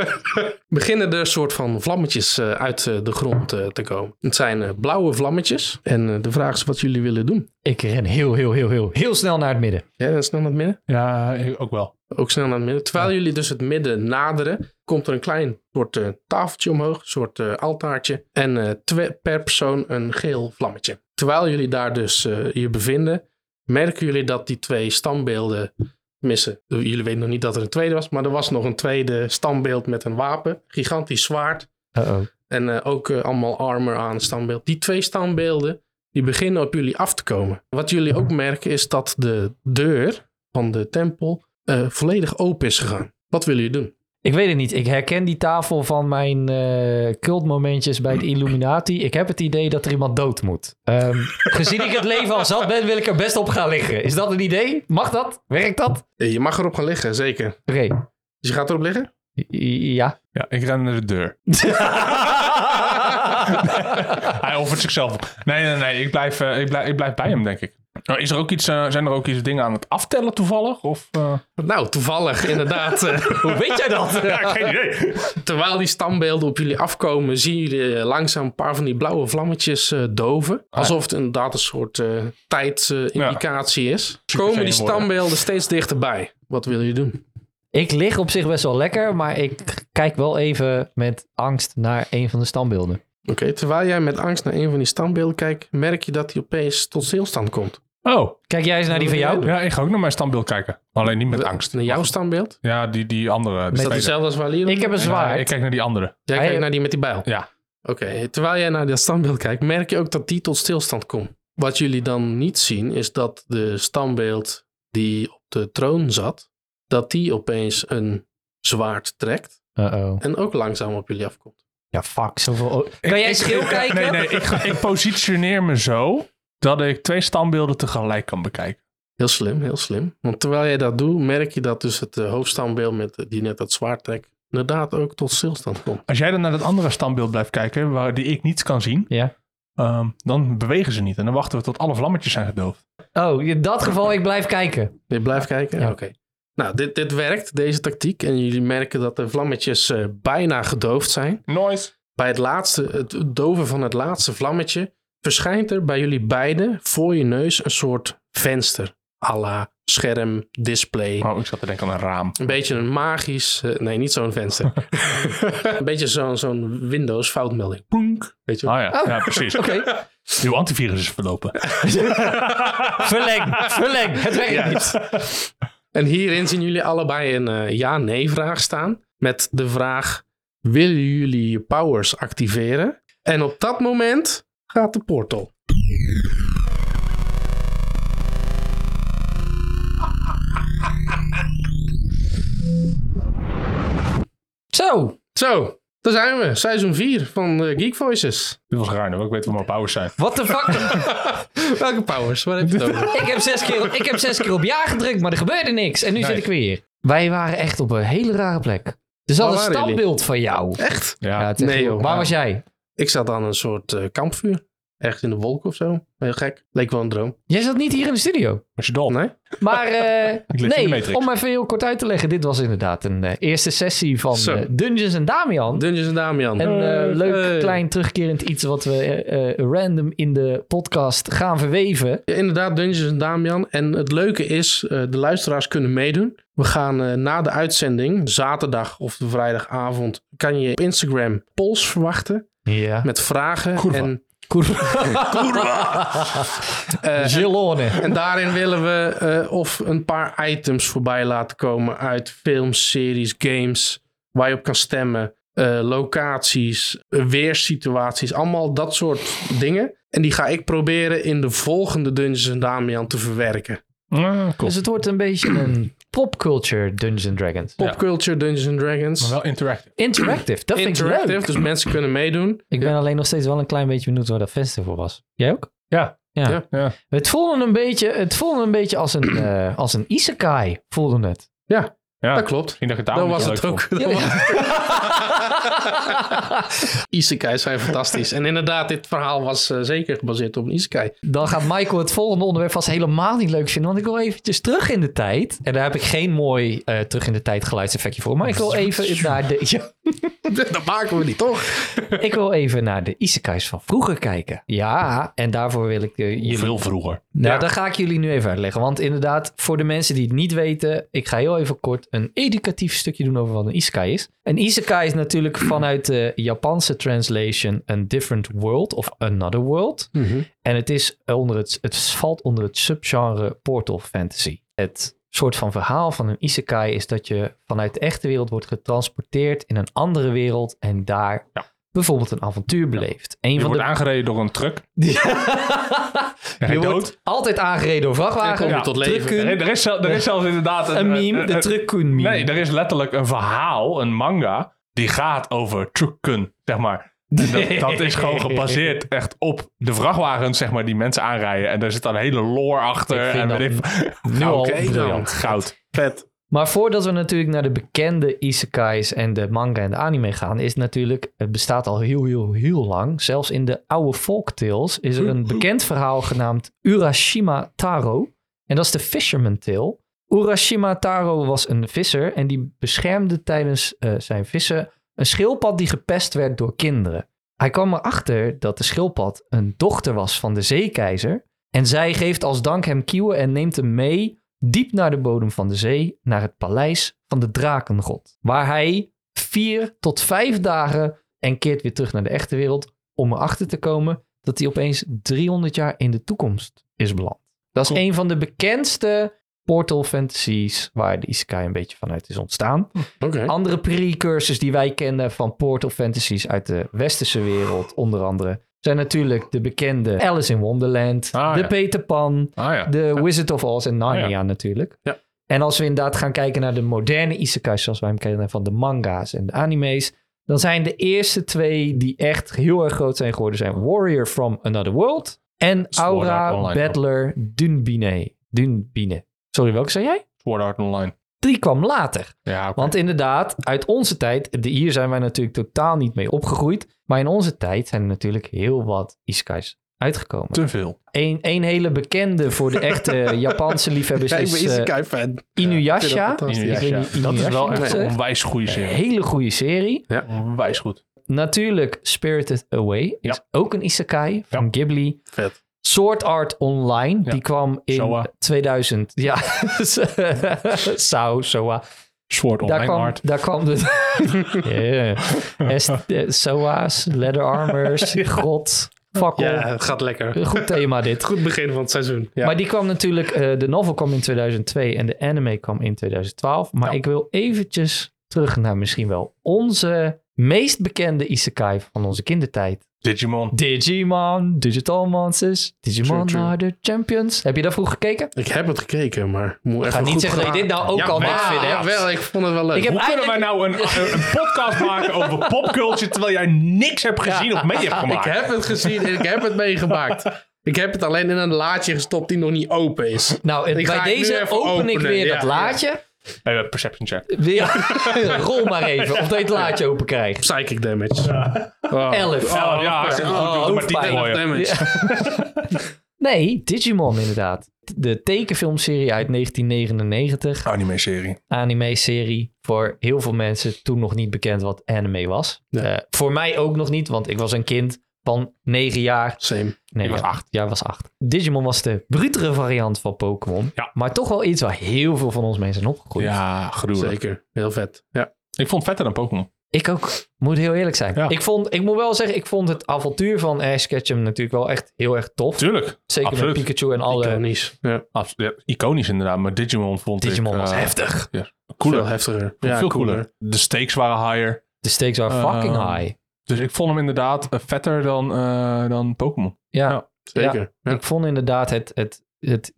[SPEAKER 1] beginnen er een soort van vlammetjes eh, uit eh, de grond eh, te komen. Het zijn eh, blauwe vlammetjes en eh, de vraag is wat jullie willen doen.
[SPEAKER 2] Ik ren heel, heel, heel, heel, heel snel naar het midden.
[SPEAKER 1] Ja, dan snel naar het midden.
[SPEAKER 3] Ja, ik ook wel.
[SPEAKER 1] Ook snel naar het midden. Terwijl jullie dus het midden naderen, komt er een klein soort eh, tafeltje omhoog, een soort eh, altaartje. En eh, twee, per persoon een geel vlammetje. Terwijl jullie daar dus eh, je bevinden, merken jullie dat die twee standbeelden missen. Eh, Jullie weten nog niet dat er een tweede was, maar er was nog een tweede standbeeld met een wapen. Gigantisch zwaard.
[SPEAKER 2] Uh-oh.
[SPEAKER 1] En eh, ook eh, allemaal armor aan het standbeeld. Die twee standbeelden, die beginnen op jullie af te komen. Wat jullie ook merken is dat de deur van de tempel eh, volledig open is gegaan. Wat willen jullie doen?
[SPEAKER 2] Ik weet het niet. Ik herken die tafel van mijn eh cultmomentjes bij de Illuminati. Ik heb het idee dat er iemand dood moet. Ehm, gezien ik het leven al zat ben, wil ik er best op gaan liggen. Is dat een idee? Mag dat? Werkt dat? Oké.
[SPEAKER 1] Eh, Je mag erop gaan liggen, zeker. Dus je gaat erop liggen?
[SPEAKER 2] I- Ja.
[SPEAKER 3] Ja, ik ren naar de deur. Hij offert zichzelf. Nee, nee, nee. Ik blijf, eh, ik blijf, ik blijf bij hem, denk ik. Nou, Is er ook iets, eh, zijn er ook iets dingen aan het aftellen toevallig? Of, eh?
[SPEAKER 1] Nou, toevallig, inderdaad. eh,
[SPEAKER 2] Hoe weet jij dat?
[SPEAKER 3] geen idee.
[SPEAKER 1] Terwijl die standbeelden op jullie afkomen, zien jullie eh, langzaam een paar van die blauwe vlammetjes eh, doven. Alsof het inderdaad een soort tijdindicatie is. Komen die
[SPEAKER 3] zenuwachtig.
[SPEAKER 1] standbeelden steeds dichterbij? Wat wil je doen?
[SPEAKER 2] Ik lig op zich best wel lekker, maar ik kijk wel even met angst naar een van de standbeelden.
[SPEAKER 1] Oké, terwijl jij met angst naar een van die standbeelden kijkt, merk je dat die opeens tot stilstand komt.
[SPEAKER 3] Oh,
[SPEAKER 2] Kijk jij eens naar die van jou?
[SPEAKER 3] ja, ik ga ook naar mijn standbeeld kijken. Alleen niet met angst.
[SPEAKER 1] Naar jouw standbeeld?
[SPEAKER 3] Ja, die, die andere.
[SPEAKER 2] Met
[SPEAKER 3] Die
[SPEAKER 1] Is dat
[SPEAKER 3] tweede.
[SPEAKER 1] hetzelfde als waar Leroy?
[SPEAKER 2] Ik heb een
[SPEAKER 3] Ja, ik
[SPEAKER 2] zwaard.
[SPEAKER 3] kijk naar die andere.
[SPEAKER 1] Jij
[SPEAKER 2] Hij-
[SPEAKER 1] kijkt naar die met die bijl?
[SPEAKER 3] Ja.
[SPEAKER 1] Oké, terwijl jij naar dat standbeeld kijkt, merk je ook dat die tot stilstand komt. Wat jullie dan niet zien, is dat de standbeeld die op de troon zat, dat die opeens een zwaard trekt
[SPEAKER 2] Uh-oh.
[SPEAKER 1] en ook langzaam op jullie afkomt.
[SPEAKER 2] Ja, fuck. Zoveel... o- Kan jij
[SPEAKER 3] ik-
[SPEAKER 2] schil kijken?
[SPEAKER 3] Nee, nee. Ik, ik positioneer me zo dat ik twee standbeelden tegelijk kan bekijken.
[SPEAKER 1] Heel slim, heel slim. Want terwijl jij dat doet, merk je dat dus het eh, hoofdstandbeeld met, eh, die net dat zwaard trekt, inderdaad ook tot stilstand komt.
[SPEAKER 3] Als jij dan naar dat andere standbeeld blijft kijken, waar die ik niet kan zien,
[SPEAKER 2] Ja.
[SPEAKER 3] ehm, dan bewegen ze niet. En dan wachten we tot alle vlammetjes zijn gedoofd.
[SPEAKER 2] Oh, in dat geval, ik blijf kijken.
[SPEAKER 1] Je blijft kijken?
[SPEAKER 2] Ja.
[SPEAKER 1] Oké. Nou, dit, dit werkt, deze tactiek. En jullie merken dat de vlammetjes eh, bijna gedoofd zijn.
[SPEAKER 3] Noise.
[SPEAKER 1] bij het laatste, het doven van het laatste vlammetje, verschijnt er bij jullie beiden voor je neus een soort venster. à la scherm, display.
[SPEAKER 3] Oh, ik zat te denken aan een raam.
[SPEAKER 1] Een beetje een magisch, eh, nee, niet zo'n venster. een beetje zo'n zo'n Windows foutmelding. Poenk. Weet
[SPEAKER 2] Ah,
[SPEAKER 1] je wel?
[SPEAKER 3] Oh ja, ja precies.
[SPEAKER 2] Oké.
[SPEAKER 3] Uw antivirus is verlopen.
[SPEAKER 2] Verleng, verleng. Het werkt niet.
[SPEAKER 1] En hierin zien jullie allebei een eh, ja-nee-vraag staan. Met de vraag: willen jullie je powers activeren? En op dat moment gaat de portal.
[SPEAKER 2] Zo,
[SPEAKER 1] Zo, daar zijn we. Seizoen 4 van eh, Geek Voices.
[SPEAKER 3] Dit was raar, nu, want ik weet wat mijn powers zijn.
[SPEAKER 2] what the fuck?
[SPEAKER 1] Welke powers? Waar heb je het over?
[SPEAKER 2] ik, heb zes keer, ik heb zes keer op ja gedrukt, maar er gebeurde niks. En nu
[SPEAKER 3] Nee.
[SPEAKER 2] zit ik weer hier. Wij waren echt op een hele rare plek. Dus Er zat
[SPEAKER 1] Waar waren
[SPEAKER 2] een
[SPEAKER 1] jullie?
[SPEAKER 2] standbeeld van jou.
[SPEAKER 1] Echt?
[SPEAKER 3] Ja,
[SPEAKER 2] Ja, het is echt
[SPEAKER 1] Nee,
[SPEAKER 2] heel-
[SPEAKER 1] joh.
[SPEAKER 2] Waar was jij?
[SPEAKER 1] Ik zat aan een soort eh, kampvuur. Ergens in de wolk of zo. Heel gek. Leek wel een droom.
[SPEAKER 2] Jij zat niet hier in de studio.
[SPEAKER 3] was je dol?
[SPEAKER 1] Nee?
[SPEAKER 2] Maar eh,
[SPEAKER 3] in de
[SPEAKER 2] nee,
[SPEAKER 3] Matrix.
[SPEAKER 2] om even heel kort uit te leggen. Dit was inderdaad een eh, eerste sessie van
[SPEAKER 1] Zo.
[SPEAKER 2] eh, Dungeons en Damian.
[SPEAKER 1] Dungeons en Damian.
[SPEAKER 2] een eh,
[SPEAKER 1] Hey.
[SPEAKER 2] leuk
[SPEAKER 1] Hey.
[SPEAKER 2] klein terugkerend iets wat we eh, eh, random in de podcast gaan verweven.
[SPEAKER 1] Ja, inderdaad, Dungeons en Damian. En het leuke is, eh, de luisteraars kunnen meedoen. We gaan eh, na de uitzending, zaterdag of vrijdagavond, kan je op Instagram polls verwachten
[SPEAKER 2] Ja.
[SPEAKER 1] met vragen.
[SPEAKER 3] Goed,
[SPEAKER 1] en Eh,
[SPEAKER 2] Gelone.
[SPEAKER 1] en daarin willen we eh, of een paar items voorbij laten komen uit films, series, games, waar je op kan stemmen. eh, locaties, eh, weersituaties, allemaal dat soort dingen. En die ga ik proberen in de volgende Dungeons Damian te verwerken.
[SPEAKER 3] Ah, cool.
[SPEAKER 2] Dus het wordt een beetje een popculture Dungeons Dragons.
[SPEAKER 1] Popculture Dungeons and
[SPEAKER 3] Maar
[SPEAKER 1] Dragons.
[SPEAKER 3] wel interactive.
[SPEAKER 2] Interactive, dat vind ik
[SPEAKER 1] Interactive,
[SPEAKER 2] leuk.
[SPEAKER 1] dus mensen kunnen meedoen.
[SPEAKER 2] Ik ben alleen nog steeds wel een klein beetje benieuwd waar dat festival was. Jij ook?
[SPEAKER 3] Ja.
[SPEAKER 2] Ja.
[SPEAKER 1] Ja.
[SPEAKER 3] Ja.
[SPEAKER 2] Het voelde een beetje, het voelde een beetje als een, eh, als een isekai, voelde het.
[SPEAKER 3] ja.
[SPEAKER 1] Dat klopt.
[SPEAKER 3] Misschien dat je het
[SPEAKER 1] Dat
[SPEAKER 3] daarom
[SPEAKER 1] was
[SPEAKER 3] niet
[SPEAKER 1] het
[SPEAKER 3] zo leuk
[SPEAKER 1] ook.
[SPEAKER 3] vond.
[SPEAKER 1] Dat was- Isekais zijn fantastisch. En inderdaad, dit verhaal was eh, zeker gebaseerd op een Isekai.
[SPEAKER 2] Dan gaat Michael het volgende onderwerp vast helemaal niet leuk vinden, want ik wil eventjes terug in de tijd. En daar heb ik geen mooi eh, terug in de tijd geluidseffectje voor, maar ik wil even naar de, ja,
[SPEAKER 1] Dat maken we niet, toch?
[SPEAKER 2] ik wil even naar de isekais van vroeger kijken. Ja, en daarvoor wil ik eh, jullie...
[SPEAKER 3] Veel vroeger.
[SPEAKER 2] Nou,
[SPEAKER 1] Ja.
[SPEAKER 2] dat ga ik jullie nu even uitleggen. Want inderdaad, voor de mensen die het niet weten, ik ga heel even kort een educatief stukje doen over wat een isekai is. Een isekai is natuurlijk vanuit de Japanse translation een different world of another world. En het, is onder het, het valt onder het subgenre portal fantasy. Het soort van verhaal van een isekai is dat je vanuit de echte wereld wordt getransporteerd in een andere wereld en daar
[SPEAKER 3] Ja.
[SPEAKER 2] bijvoorbeeld een avontuur beleeft. Een
[SPEAKER 3] Je
[SPEAKER 2] van
[SPEAKER 3] wordt
[SPEAKER 2] de...
[SPEAKER 3] aangereden door een truck. En
[SPEAKER 2] Je
[SPEAKER 3] hij dood.
[SPEAKER 2] wordt altijd aangereden door vrachtwagen.
[SPEAKER 1] En kom je tot leven.
[SPEAKER 2] Trucken.
[SPEAKER 3] Er er is, zel- er is zelfs inderdaad
[SPEAKER 2] Een meme, de
[SPEAKER 3] een-
[SPEAKER 2] truckun meme.
[SPEAKER 3] Nee, er is letterlijk een verhaal, een manga, die gaat over trucken, zeg maar. En dat, dat is gewoon gebaseerd echt op de vrachtwagens, zeg maar, die mensen aanrijden. En daar zit dan een hele lore achter.
[SPEAKER 2] Ik vind
[SPEAKER 3] en
[SPEAKER 2] dat
[SPEAKER 3] weet ik-
[SPEAKER 2] nu al
[SPEAKER 1] Oké, dan.
[SPEAKER 2] briljant.
[SPEAKER 3] goud.
[SPEAKER 1] Vet.
[SPEAKER 2] Maar voordat we natuurlijk naar de bekende isekais en de manga en de anime gaan, is natuurlijk, het bestaat al heel, heel, heel lang. Zelfs in de oude folktales is er een bekend verhaal genaamd Urashima Taro. En dat is de Fisherman Tale. Urashima Taro was een visser en die beschermde tijdens eh, zijn vissen een schildpad die gepest werd door kinderen. Hij kwam erachter dat de schildpad een dochter was van de zeekeizer. En zij geeft als dank hem kieuwen en neemt hem mee diep naar de bodem van de zee, naar het paleis van de drakengod. Waar hij vier tot vijf dagen en keert weer terug naar de echte wereld om erachter te komen dat hij opeens 300 jaar in de toekomst is beland. Dat is
[SPEAKER 1] Cool.
[SPEAKER 2] een van de bekendste portal fantasies waar de isekai een beetje vanuit is ontstaan.
[SPEAKER 1] Oké.
[SPEAKER 2] Andere precursors die wij kennen van portal fantasies uit de westerse wereld, onder andere, zijn natuurlijk de bekende Alice in Wonderland,
[SPEAKER 3] Ah,
[SPEAKER 2] de
[SPEAKER 3] ja.
[SPEAKER 2] Peter Pan,
[SPEAKER 3] Ah ja.
[SPEAKER 2] de Wizard of Oz en Narnia
[SPEAKER 3] Ah,
[SPEAKER 2] natuurlijk.
[SPEAKER 1] Ja.
[SPEAKER 2] En als we inderdaad gaan kijken naar de moderne isekais zoals wij hem kennen van de manga's en de anime's, dan zijn de eerste twee die echt heel erg groot zijn geworden zijn Warrior from Another World en
[SPEAKER 3] Sword Art
[SPEAKER 2] Aura
[SPEAKER 3] Online,
[SPEAKER 2] Battler Dunbine. Dunbine. Sorry, welke zei jij?
[SPEAKER 3] Sword Art Online.
[SPEAKER 2] Die kwam later.
[SPEAKER 3] Ja, oké.
[SPEAKER 2] Want inderdaad, uit onze tijd, de- hier zijn wij natuurlijk totaal niet mee opgegroeid, maar in onze tijd zijn er natuurlijk heel wat isekais uitgekomen.
[SPEAKER 3] te veel.
[SPEAKER 2] Eén één hele bekende voor de echte Japanse liefhebbers
[SPEAKER 1] Ja, ik ben
[SPEAKER 2] is eh,
[SPEAKER 1] Isekai-fan. Ik vind dat
[SPEAKER 2] Inuyasha.
[SPEAKER 1] fantastisch.
[SPEAKER 3] Inuyasha.
[SPEAKER 2] Ik weet niet,
[SPEAKER 3] Dat is wel
[SPEAKER 2] Inuyasha
[SPEAKER 3] echt
[SPEAKER 2] of
[SPEAKER 3] een
[SPEAKER 2] zo.
[SPEAKER 3] onwijs goede
[SPEAKER 2] Een
[SPEAKER 3] serie.
[SPEAKER 2] hele goede serie.
[SPEAKER 3] Onwijs goed.
[SPEAKER 2] Natuurlijk Spirited Away is
[SPEAKER 3] Ja.
[SPEAKER 2] ook een isekai van
[SPEAKER 3] Ja.
[SPEAKER 2] Ghibli.
[SPEAKER 1] Vet.
[SPEAKER 2] Sword Art Online,
[SPEAKER 3] Ja.
[SPEAKER 2] die kwam in
[SPEAKER 3] Showa.
[SPEAKER 2] 2000. Ja, Sao, Soa.
[SPEAKER 3] Sword
[SPEAKER 2] Daar
[SPEAKER 3] Online
[SPEAKER 2] kwam,
[SPEAKER 3] Art.
[SPEAKER 2] daar kwam de... yeah. S- eh, Soa's, Leather Armors, God, fakkel.
[SPEAKER 1] Ja, het gaat lekker.
[SPEAKER 2] Goed thema dit.
[SPEAKER 1] Goed begin van het seizoen. Ja.
[SPEAKER 2] Maar die kwam natuurlijk, eh, de novel kwam in 2002 en de anime kwam in 2012. Maar
[SPEAKER 3] Ja.
[SPEAKER 2] ik wil eventjes terug naar misschien wel onze meest bekende isekai van onze kindertijd.
[SPEAKER 3] Digimon.
[SPEAKER 2] Digimon, Digital Monsters, Digimon
[SPEAKER 1] True, true.
[SPEAKER 2] are the champions. Heb je daar vroeg gekeken?
[SPEAKER 1] Ik heb het gekeken, maar moet
[SPEAKER 2] Ik ga
[SPEAKER 1] even
[SPEAKER 2] niet
[SPEAKER 1] goed
[SPEAKER 2] zeggen dat je dit nou ook
[SPEAKER 3] Ja,
[SPEAKER 2] al
[SPEAKER 3] maar-
[SPEAKER 2] niks vindt. hè?
[SPEAKER 1] Ja, wel. Ik vond het wel leuk.
[SPEAKER 2] Ik heb
[SPEAKER 3] Hoe kunnen wij
[SPEAKER 2] eigenlijk...
[SPEAKER 3] nou een, een, een podcast maken over popculture terwijl jij niks hebt gezien of mee hebt
[SPEAKER 1] Ik
[SPEAKER 3] gemaakt?
[SPEAKER 1] heb het gezien en ik heb het meegemaakt. Ik heb het alleen in een laadje gestopt die nog niet open is.
[SPEAKER 2] Nou, het-
[SPEAKER 1] Ik
[SPEAKER 2] bij
[SPEAKER 1] ga het nu
[SPEAKER 2] deze
[SPEAKER 1] even
[SPEAKER 2] open ik
[SPEAKER 1] openen,
[SPEAKER 2] weer
[SPEAKER 1] ja,
[SPEAKER 2] dat
[SPEAKER 1] ja.
[SPEAKER 2] laadje.
[SPEAKER 3] Eh, perception check.
[SPEAKER 2] Weer, rol maar even, of dat je het laadje open krijgt.
[SPEAKER 1] Psychic damage. Oh.
[SPEAKER 2] Elf.
[SPEAKER 3] Oh, ja, hartstikke goed. Doe
[SPEAKER 2] Oh,
[SPEAKER 3] er maar tien
[SPEAKER 2] hoofdpijn.
[SPEAKER 3] voor
[SPEAKER 1] Elf
[SPEAKER 3] je.
[SPEAKER 1] damage.
[SPEAKER 2] Nee, Digimon inderdaad. De tekenfilmserie uit 1999.
[SPEAKER 3] Anime-serie.
[SPEAKER 2] Anime-serie. Voor heel veel mensen toen nog niet bekend wat anime was.
[SPEAKER 1] Ja.
[SPEAKER 2] Eh, voor mij ook nog niet, want ik was een kind van 9 jaar.
[SPEAKER 1] Same.
[SPEAKER 2] Nee,
[SPEAKER 3] Ik was
[SPEAKER 2] ja.
[SPEAKER 3] acht.
[SPEAKER 2] Ja, ik was 8. Digimon was de brutere variant van Pokémon.
[SPEAKER 3] Ja.
[SPEAKER 2] Maar toch wel iets waar heel veel van ons mensen zijn opgegroeid.
[SPEAKER 3] Ja, gruwelijk.
[SPEAKER 1] Zeker. Heel vet. Ja.
[SPEAKER 3] Ik vond het vetter dan Pokémon.
[SPEAKER 2] Ik ook. Moet heel eerlijk zijn.
[SPEAKER 3] Ja.
[SPEAKER 2] Ik, vond, ik moet wel zeggen, ik vond het avontuur van Ash Ketchum natuurlijk wel echt heel erg tof.
[SPEAKER 3] Tuurlijk.
[SPEAKER 2] Zeker
[SPEAKER 3] absoluut. eh,
[SPEAKER 2] met Pikachu en alle...
[SPEAKER 1] Iconisch. Ja,
[SPEAKER 3] Abs- ja, iconisch inderdaad, maar Digimon vond
[SPEAKER 2] Digimon
[SPEAKER 3] ik...
[SPEAKER 2] was
[SPEAKER 3] eh,
[SPEAKER 2] heftig.
[SPEAKER 3] Cooler.
[SPEAKER 1] Veel heftiger.
[SPEAKER 3] Vond ik
[SPEAKER 1] Ja,
[SPEAKER 3] veel cooler. De stakes waren higher.
[SPEAKER 2] De stakes waren
[SPEAKER 3] Eh,
[SPEAKER 2] fucking high.
[SPEAKER 3] Dus ik vond hem inderdaad eh, vetter dan, eh, dan Pokémon.
[SPEAKER 2] Ja,
[SPEAKER 3] ja.
[SPEAKER 1] Zeker. Ja.
[SPEAKER 2] ik vond inderdaad het, het, het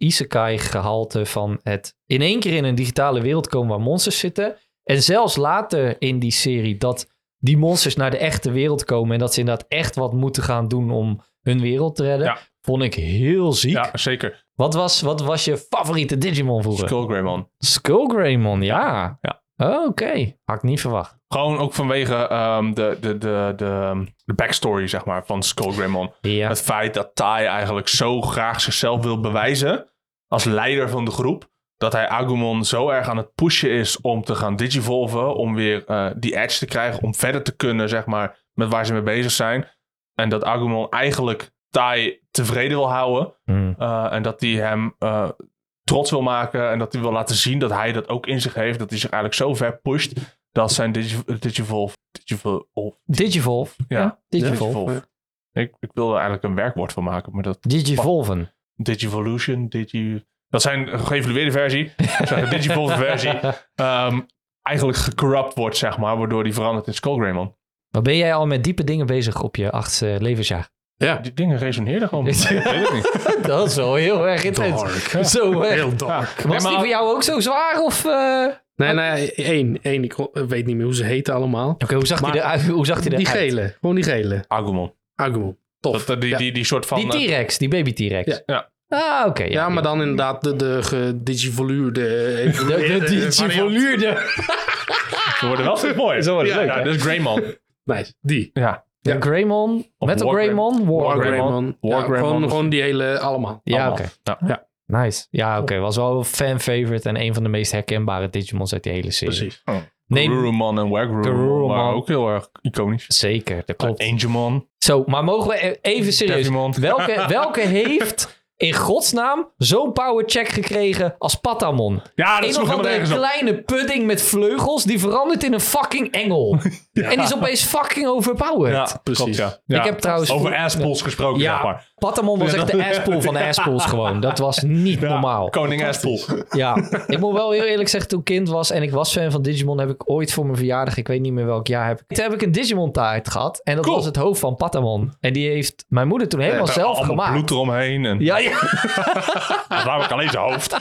[SPEAKER 2] isekai-gehalte van het... In één keer in een digitale wereld komen waar monsters zitten. En zelfs later in die serie dat die monsters naar de echte wereld komen... en dat ze inderdaad echt wat moeten gaan doen om hun wereld te redden...
[SPEAKER 3] Ja.
[SPEAKER 2] vond ik heel ziek.
[SPEAKER 3] Ja, zeker.
[SPEAKER 2] Wat, was, wat was je favoriete Digimon vroeger?
[SPEAKER 3] Skullgreymon.
[SPEAKER 2] Skullgreymon, ja.
[SPEAKER 3] Ja.
[SPEAKER 2] Oh, Oké, had ik niet verwacht.
[SPEAKER 3] Gewoon ook vanwege ehm, de, de, de, de, de backstory, zeg maar, van Skullgreymon.
[SPEAKER 2] Ja,
[SPEAKER 3] Het feit dat Tai eigenlijk zo graag zichzelf wil bewijzen als leider van de groep. Dat hij Agumon zo erg aan het pushen is om te gaan digivolven. Om weer eh, die edge te krijgen. Om verder te kunnen, zeg maar, met waar ze mee bezig zijn. En dat Agumon eigenlijk Tai tevreden wil houden.
[SPEAKER 2] Hmm.
[SPEAKER 3] Eh, en dat hij hem eh, trots wil maken. En dat hij wil laten zien dat hij dat ook in zich heeft. Dat hij zich eigenlijk zo ver pusht. Dat zijn digi- digivolve... Digivolve...
[SPEAKER 2] Digivolve.
[SPEAKER 3] Ja,
[SPEAKER 2] Digivolve.
[SPEAKER 3] digivolve. Ik, ik wil er eigenlijk een werkwoord van maken. Maar dat
[SPEAKER 2] Digivolven.
[SPEAKER 3] Digivolution, Digi... Dat zijn een geëvalueerde versie. Dat zijn een Digivolve versie. Ehm, eigenlijk gecorrupt wordt, zeg maar. Waardoor die verandert in Skullgreymon.
[SPEAKER 2] Maar ben jij al met diepe dingen bezig op je achtste levensjaar?
[SPEAKER 1] ja.
[SPEAKER 3] Die dingen resoneerden gewoon. met mij. Ik weet het niet.
[SPEAKER 2] Dat is wel heel erg
[SPEAKER 1] Dark.
[SPEAKER 2] Zo, eh,
[SPEAKER 1] Heel dark.
[SPEAKER 2] was die voor jou ook zo zwaar? Of, eh? Oké,
[SPEAKER 1] Nee, nee, één. één ik weet niet meer hoe ze heten allemaal.
[SPEAKER 2] hoe zag
[SPEAKER 1] Maar-
[SPEAKER 2] hij eruit? Hoe zag die
[SPEAKER 1] Die
[SPEAKER 2] eruit?
[SPEAKER 1] gele. Gewoon die gele.
[SPEAKER 3] Agumon.
[SPEAKER 1] Agumon.
[SPEAKER 3] Dat,
[SPEAKER 1] Tof.
[SPEAKER 3] dat- eh, die,
[SPEAKER 1] ja.
[SPEAKER 3] die, die soort van... eh,
[SPEAKER 2] Die T-Rex, die baby T-Rex.
[SPEAKER 1] Ja.
[SPEAKER 3] Ja.
[SPEAKER 2] Ah, oké.
[SPEAKER 1] ja, maar dan inderdaad de, de gedigivoluurde... eh,
[SPEAKER 2] De, de,
[SPEAKER 1] variant.
[SPEAKER 2] digivoluurde.
[SPEAKER 3] eh, ze worden wel steeds mooier. Ze worden
[SPEAKER 1] leuk,
[SPEAKER 3] Ja,
[SPEAKER 1] hè?
[SPEAKER 3] dus Greymon.
[SPEAKER 1] Nice. Die.
[SPEAKER 3] Ja.
[SPEAKER 2] De Greymon.
[SPEAKER 3] Of
[SPEAKER 2] Metal
[SPEAKER 3] Wargreymon.
[SPEAKER 2] Greymon. War.
[SPEAKER 3] Wargreymon.
[SPEAKER 1] Wargreymon. Ja,
[SPEAKER 3] Wargreymon
[SPEAKER 1] gewoon,
[SPEAKER 3] was-
[SPEAKER 1] gewoon die hele... Allemaal.
[SPEAKER 2] Ja, oké.
[SPEAKER 3] Allemaal. Ja.
[SPEAKER 2] Nice. Ja, oké. Was wel een fan favorite en een van de meest herkenbare Digimons uit die hele serie.
[SPEAKER 1] Precies.
[SPEAKER 2] Nee,
[SPEAKER 3] Garurumon en Wargrurumon
[SPEAKER 2] Garurumon.
[SPEAKER 3] waren ook heel erg iconisch.
[SPEAKER 2] zeker. Dat klopt.
[SPEAKER 3] Angemon.
[SPEAKER 2] Zo, maar mogen we e- even serieus.
[SPEAKER 3] Devimon.
[SPEAKER 2] Welke, welke heeft in godsnaam zo'n powercheck gekregen als Patamon?
[SPEAKER 3] Ja, dat
[SPEAKER 2] Een
[SPEAKER 3] is
[SPEAKER 2] of
[SPEAKER 3] nog helemaal
[SPEAKER 2] andere
[SPEAKER 3] nergens op.
[SPEAKER 2] kleine pudding met vleugels die verandert in een fucking engel. En is opeens fucking overpowered.
[SPEAKER 3] Ja, precies.
[SPEAKER 1] Precies.
[SPEAKER 3] ja. Ja.
[SPEAKER 2] Ik heb trouwens-
[SPEAKER 3] Over asspools gesproken,
[SPEAKER 2] Ja,
[SPEAKER 3] zeg maar.
[SPEAKER 2] Patamon was echt de asspool van de asspools gewoon. Dat was niet
[SPEAKER 3] Ja,
[SPEAKER 2] normaal.
[SPEAKER 3] Koning Aspool.
[SPEAKER 2] Ja, ik moet wel heel eerlijk zeggen, toen ik kind was en ik was fan van Digimon, heb ik ooit voor mijn verjaardag, ik weet niet meer welk jaar, heb ik, toen heb ik een Digimon taart gehad. En dat
[SPEAKER 3] Cool.
[SPEAKER 2] was het hoofd van Patamon. En die heeft mijn moeder toen helemaal
[SPEAKER 3] Ja,
[SPEAKER 2] zelf
[SPEAKER 3] allemaal
[SPEAKER 2] gemaakt.
[SPEAKER 3] bloed eromheen. En
[SPEAKER 2] Ja, ja.
[SPEAKER 3] waarom ik alleen zijn hoofd.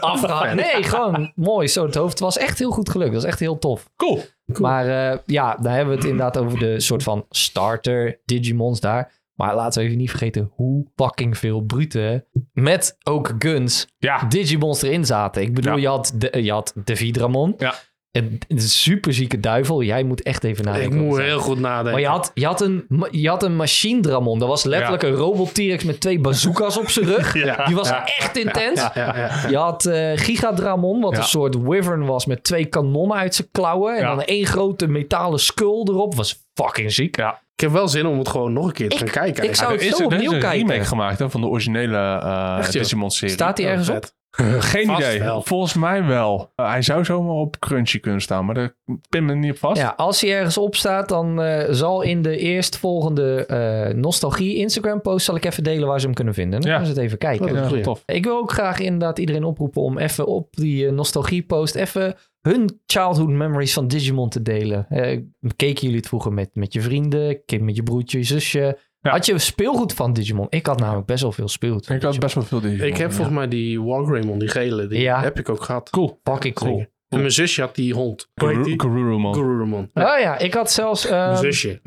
[SPEAKER 2] afgehakt. Nee, gewoon mooi. Zo het hoofd. Het was echt heel goed gelukt. Dat was echt heel tof.
[SPEAKER 3] Cool.
[SPEAKER 2] Maar eh, ja, daar hebben we het inderdaad over de soort van starter Digimons daar. Maar laten we even niet vergeten hoe fucking veel brute met ook guns
[SPEAKER 3] Ja.
[SPEAKER 2] Digimons erin zaten. Ik bedoel,
[SPEAKER 3] Ja.
[SPEAKER 2] je, had de, eh, je had de Vidramon.
[SPEAKER 3] Ja.
[SPEAKER 2] Een, een superzieke duivel. Jij moet echt even
[SPEAKER 1] ik
[SPEAKER 2] nadenken.
[SPEAKER 1] moet
[SPEAKER 2] over-
[SPEAKER 1] heel goed nadenken.
[SPEAKER 2] maar je had, je, had een, ma- je had een machine Dramon. Dat was letterlijk een robot T-Rex met twee bazookas op zijn rug.
[SPEAKER 1] Ja.
[SPEAKER 2] Die was echt intens.
[SPEAKER 1] Ja, ja, ja.
[SPEAKER 2] Je had eh Gigadramon, wat
[SPEAKER 3] Ja.
[SPEAKER 2] een soort wyvern was met twee kanonnen uit zijn klauwen. En
[SPEAKER 3] Ja.
[SPEAKER 2] dan één grote metalen skull erop. Was fucking ziek.
[SPEAKER 3] Ja.
[SPEAKER 1] Ik heb wel zin om het gewoon nog een keer te gaan kijken.
[SPEAKER 2] ik zou-
[SPEAKER 1] eigenlijk.
[SPEAKER 3] Er is,
[SPEAKER 2] zo
[SPEAKER 3] er is
[SPEAKER 2] opnieuw
[SPEAKER 3] een
[SPEAKER 2] kijken.
[SPEAKER 3] remake gemaakt hè, van de originele eh
[SPEAKER 1] Echt, joh.
[SPEAKER 3] Digimon-serie.
[SPEAKER 2] Staat hij
[SPEAKER 1] Heel
[SPEAKER 2] ergens op?
[SPEAKER 1] vet.
[SPEAKER 3] Geen
[SPEAKER 1] Vast
[SPEAKER 3] idee.
[SPEAKER 1] wel.
[SPEAKER 3] Volgens mij wel. Eh, hij zou zomaar op Crunchy kunnen staan, maar daar pin me niet op vast.
[SPEAKER 2] Ja, als hij ergens op staat, dan eh, zal in de eerstvolgende eh, nostalgie Instagram post zal ik even delen waar ze hem kunnen vinden. Dan
[SPEAKER 3] Ja.
[SPEAKER 2] kunnen ze het even kijken.
[SPEAKER 1] Dat is
[SPEAKER 3] Ja,
[SPEAKER 1] goeie.
[SPEAKER 3] tof.
[SPEAKER 2] Ik wil ook graag inderdaad iedereen oproepen om even op die eh, nostalgie-post even hun childhood memories van Digimon te delen. Eh, keken jullie het vroeger met, met je vrienden, kind met je broertje, je zusje?
[SPEAKER 3] Ja.
[SPEAKER 2] Had je speelgoed van Digimon? Ik had namelijk best wel veel speelgoed.
[SPEAKER 3] Ik had best wel veel Digimon.
[SPEAKER 1] Ik heb
[SPEAKER 3] ja.
[SPEAKER 1] volgens mij die Wargreymon, die gele, die
[SPEAKER 2] Ja.
[SPEAKER 1] heb ik ook gehad.
[SPEAKER 3] Cool.
[SPEAKER 2] Fucking cool.
[SPEAKER 1] Zeker. En mijn zusje had die hond. Hoe heet
[SPEAKER 3] Guru-
[SPEAKER 1] die?
[SPEAKER 3] Garurumon.
[SPEAKER 1] Garurumon.
[SPEAKER 3] Ehm,
[SPEAKER 2] Oh ja, ik had zelfs, eh,
[SPEAKER 1] Mijn zusje.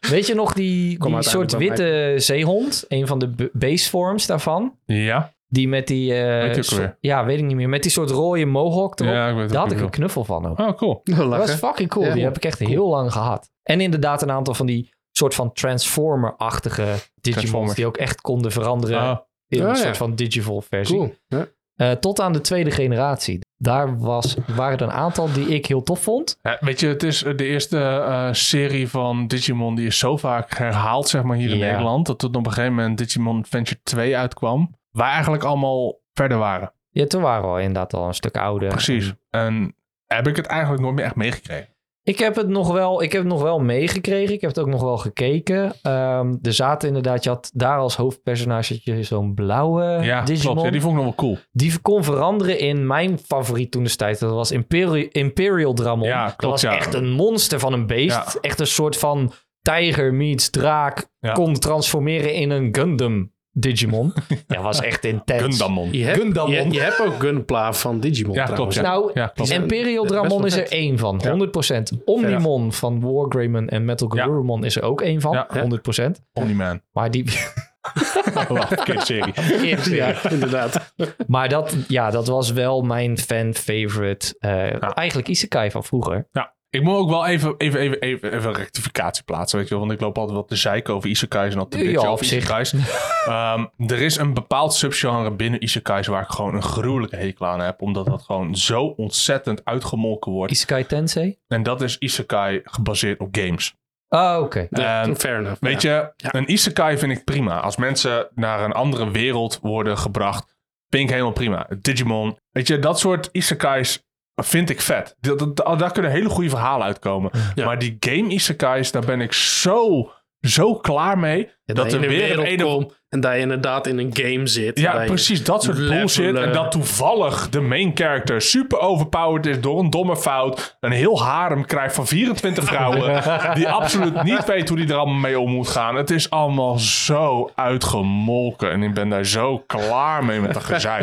[SPEAKER 2] weet je nog, die,
[SPEAKER 1] Kom
[SPEAKER 2] die soort
[SPEAKER 1] uiteindelijk bij
[SPEAKER 2] witte zeehond, een van de b- baseforms daarvan.
[SPEAKER 3] Ja.
[SPEAKER 2] Die met die, eh,
[SPEAKER 3] Weet je ook
[SPEAKER 2] so-
[SPEAKER 3] weer?
[SPEAKER 2] ja, weet ik niet meer, met die soort rode mohawk erop.
[SPEAKER 3] ja, ik weet het
[SPEAKER 2] Daar
[SPEAKER 3] ook
[SPEAKER 2] had ik
[SPEAKER 3] wel.
[SPEAKER 2] een knuffel van ook.
[SPEAKER 3] Oh, cool.
[SPEAKER 2] Dat was fucking cool.
[SPEAKER 1] Ja.
[SPEAKER 2] Die heb ik echt heel lang gehad. En inderdaad een aantal van die soort van Transformer-achtige Digimons.
[SPEAKER 3] Transformers.
[SPEAKER 2] Die ook echt konden veranderen
[SPEAKER 3] Ah,
[SPEAKER 2] in een
[SPEAKER 1] Ah, ja.
[SPEAKER 2] soort van Digivolve versie.
[SPEAKER 1] Cool. Ja.
[SPEAKER 2] Eh, tot aan de tweede generatie. Daar was, waren er een aantal die ik heel tof vond.
[SPEAKER 3] Ja, weet je, het is eh, de eerste eh, serie van Digimon die is zo vaak herhaald, zeg maar, hier in
[SPEAKER 2] Ja.
[SPEAKER 3] Nederland. Dat tot op een gegeven moment Digimon Adventure 2 uitkwam. Waar eigenlijk allemaal verder waren.
[SPEAKER 2] Ja, toen waren we al inderdaad al een stuk ouder.
[SPEAKER 3] Precies. En heb ik het eigenlijk nooit meer echt meegekregen.
[SPEAKER 2] Ik heb het nog wel, ik heb het nog wel meegekregen. Ik heb het ook nog wel gekeken. Ehm, er zaten inderdaad, je had daar als hoofdpersonage had je zo'n blauwe
[SPEAKER 3] Ja,
[SPEAKER 2] Digimon.
[SPEAKER 3] klopt. Ja, die
[SPEAKER 2] die...
[SPEAKER 3] vond ik nog wel cool.
[SPEAKER 2] kon veranderen in mijn favoriet toen destijds. Dat was Imperial, Imperial Dramon.
[SPEAKER 3] Ja,
[SPEAKER 2] dat
[SPEAKER 3] klopt,
[SPEAKER 2] was
[SPEAKER 3] ja.
[SPEAKER 2] echt een monster van een beest.
[SPEAKER 3] Ja.
[SPEAKER 2] Echt een soort van tijger meets draak.
[SPEAKER 3] Ja.
[SPEAKER 2] Kon transformeren in een Gundam Digimon. ja, was echt intens.
[SPEAKER 3] Gundamon.
[SPEAKER 1] Je hebt,
[SPEAKER 2] Gundamon.
[SPEAKER 1] je, je hebt ook Gunpla van Digimon
[SPEAKER 3] Ja,
[SPEAKER 1] trouwens.
[SPEAKER 3] klopt. Ja.
[SPEAKER 2] Nou,
[SPEAKER 3] ja, klopt.
[SPEAKER 1] zijn
[SPEAKER 2] Imperial
[SPEAKER 1] best wel
[SPEAKER 2] Dramon is
[SPEAKER 1] vet.
[SPEAKER 2] er één van,
[SPEAKER 3] Ja.
[SPEAKER 2] 100%. Omnimon van Wargreymon en Metal
[SPEAKER 3] Ja.
[SPEAKER 2] Garurumon is er ook één van,
[SPEAKER 3] Ja.
[SPEAKER 2] 100%.
[SPEAKER 3] Omni-Man.
[SPEAKER 2] Maar, die,
[SPEAKER 3] Wacht, verkeerde serie.
[SPEAKER 1] Ja, inderdaad.
[SPEAKER 2] maar dat, ja, dat was wel mijn fan-favorite. eh,
[SPEAKER 3] Ja.
[SPEAKER 2] Eigenlijk Isekai van vroeger.
[SPEAKER 3] Ja, ik moet ook wel even, even, even, even, even een rectificatie plaatsen, weet je wel. Want ik loop altijd wat te zeiken over isekais en dat te
[SPEAKER 2] Ja,
[SPEAKER 3] bitchen
[SPEAKER 2] op
[SPEAKER 3] over
[SPEAKER 2] zich.
[SPEAKER 3] isekais. Ehm, er is een bepaald subgenre binnen isekais waar ik gewoon een gruwelijke hekel aan heb. Omdat dat gewoon zo ontzettend uitgemolken wordt.
[SPEAKER 2] Isekai Tensei?
[SPEAKER 3] En dat is isekai gebaseerd op games.
[SPEAKER 2] Oh, oké.
[SPEAKER 1] Ja,
[SPEAKER 3] Ehm,
[SPEAKER 1] fair enough.
[SPEAKER 3] Weet
[SPEAKER 1] ja.
[SPEAKER 3] je, een isekai vind ik prima. Als mensen naar een andere wereld worden gebracht, vind ik helemaal prima. Digimon, weet je, dat soort isekais vind ik vet. Dat, dat- daar kunnen hele goede verhalen uitkomen.
[SPEAKER 1] Ja.
[SPEAKER 3] Maar die game isekais, daar ben ik zo, zo klaar mee.
[SPEAKER 1] Ja,
[SPEAKER 3] dat
[SPEAKER 1] je
[SPEAKER 3] er
[SPEAKER 1] in
[SPEAKER 3] weer
[SPEAKER 1] een
[SPEAKER 3] een
[SPEAKER 1] wereld
[SPEAKER 3] of-
[SPEAKER 1] komt en dat je inderdaad in een game zit. en dat
[SPEAKER 3] Ja,
[SPEAKER 1] je-
[SPEAKER 3] precies dat soort bullshit.
[SPEAKER 1] levelen.
[SPEAKER 3] En dat toevallig de main character super overpowered is door een domme fout. Een heel harem krijgt van 24 vrouwen. die absoluut niet weet hoe die er allemaal mee om moet gaan. Het is allemaal zo uitgemolken. En ik ben daar zo klaar mee met dat gezeik.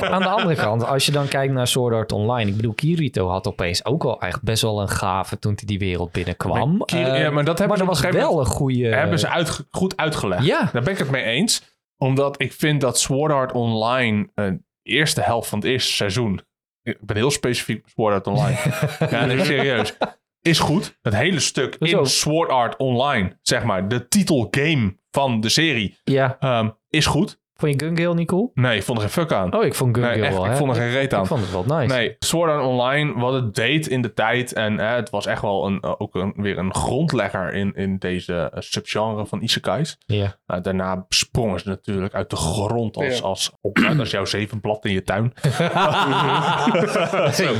[SPEAKER 2] Aan de andere kant, als je dan kijkt naar Sword Art Online. Ik bedoel, Kirito had opeens ook wel echt best wel een gave toen hij die wereld binnenkwam.
[SPEAKER 3] Maar Kiri-
[SPEAKER 2] Eh,
[SPEAKER 3] ja, maar dat hebben ze
[SPEAKER 2] er
[SPEAKER 3] op
[SPEAKER 2] was
[SPEAKER 3] een gegeven
[SPEAKER 2] wel een goede...
[SPEAKER 3] hebben ze uitge- goed uitgelegd.
[SPEAKER 2] Eh, Ja.
[SPEAKER 3] Daar ben ik het mee eens. Omdat ik vind dat Sword Art Online eh, de eerste helft van het eerste seizoen. Ik ben heel specifiek met Sword Art Online. ja, nee, serieus. Is goed. Het hele stuk
[SPEAKER 2] Hoezo?
[SPEAKER 3] in Sword Art Online, zeg maar, de titelgame van de serie,
[SPEAKER 2] Ja,
[SPEAKER 3] ehm, is goed.
[SPEAKER 2] vond je Gun Gale niet cool?
[SPEAKER 3] Nee, ik vond er geen fuck aan.
[SPEAKER 2] Oh, ik vond Gun
[SPEAKER 3] nee,
[SPEAKER 2] Gale
[SPEAKER 3] echt,
[SPEAKER 2] wel,
[SPEAKER 3] ik
[SPEAKER 2] hè?
[SPEAKER 3] vond er geen reet aan.
[SPEAKER 2] Ik vond het wel nice.
[SPEAKER 3] Nee, Sword Art Online, wat het deed in de tijd. En eh, het was echt wel een, ook een, weer een grondlegger in, in deze eh, subgenre van isekais.
[SPEAKER 2] Ja.
[SPEAKER 3] Nou, daarna sprongen ze natuurlijk uit de grond als,
[SPEAKER 1] Ja.
[SPEAKER 3] als, opruimd als jouw zevenblad in je tuin.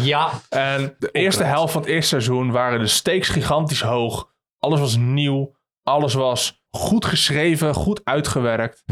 [SPEAKER 2] ja.
[SPEAKER 3] En de eerste helft van het eerste seizoen waren de stakes gigantisch hoog. Alles was nieuw. Alles was goed geschreven, goed uitgewerkt.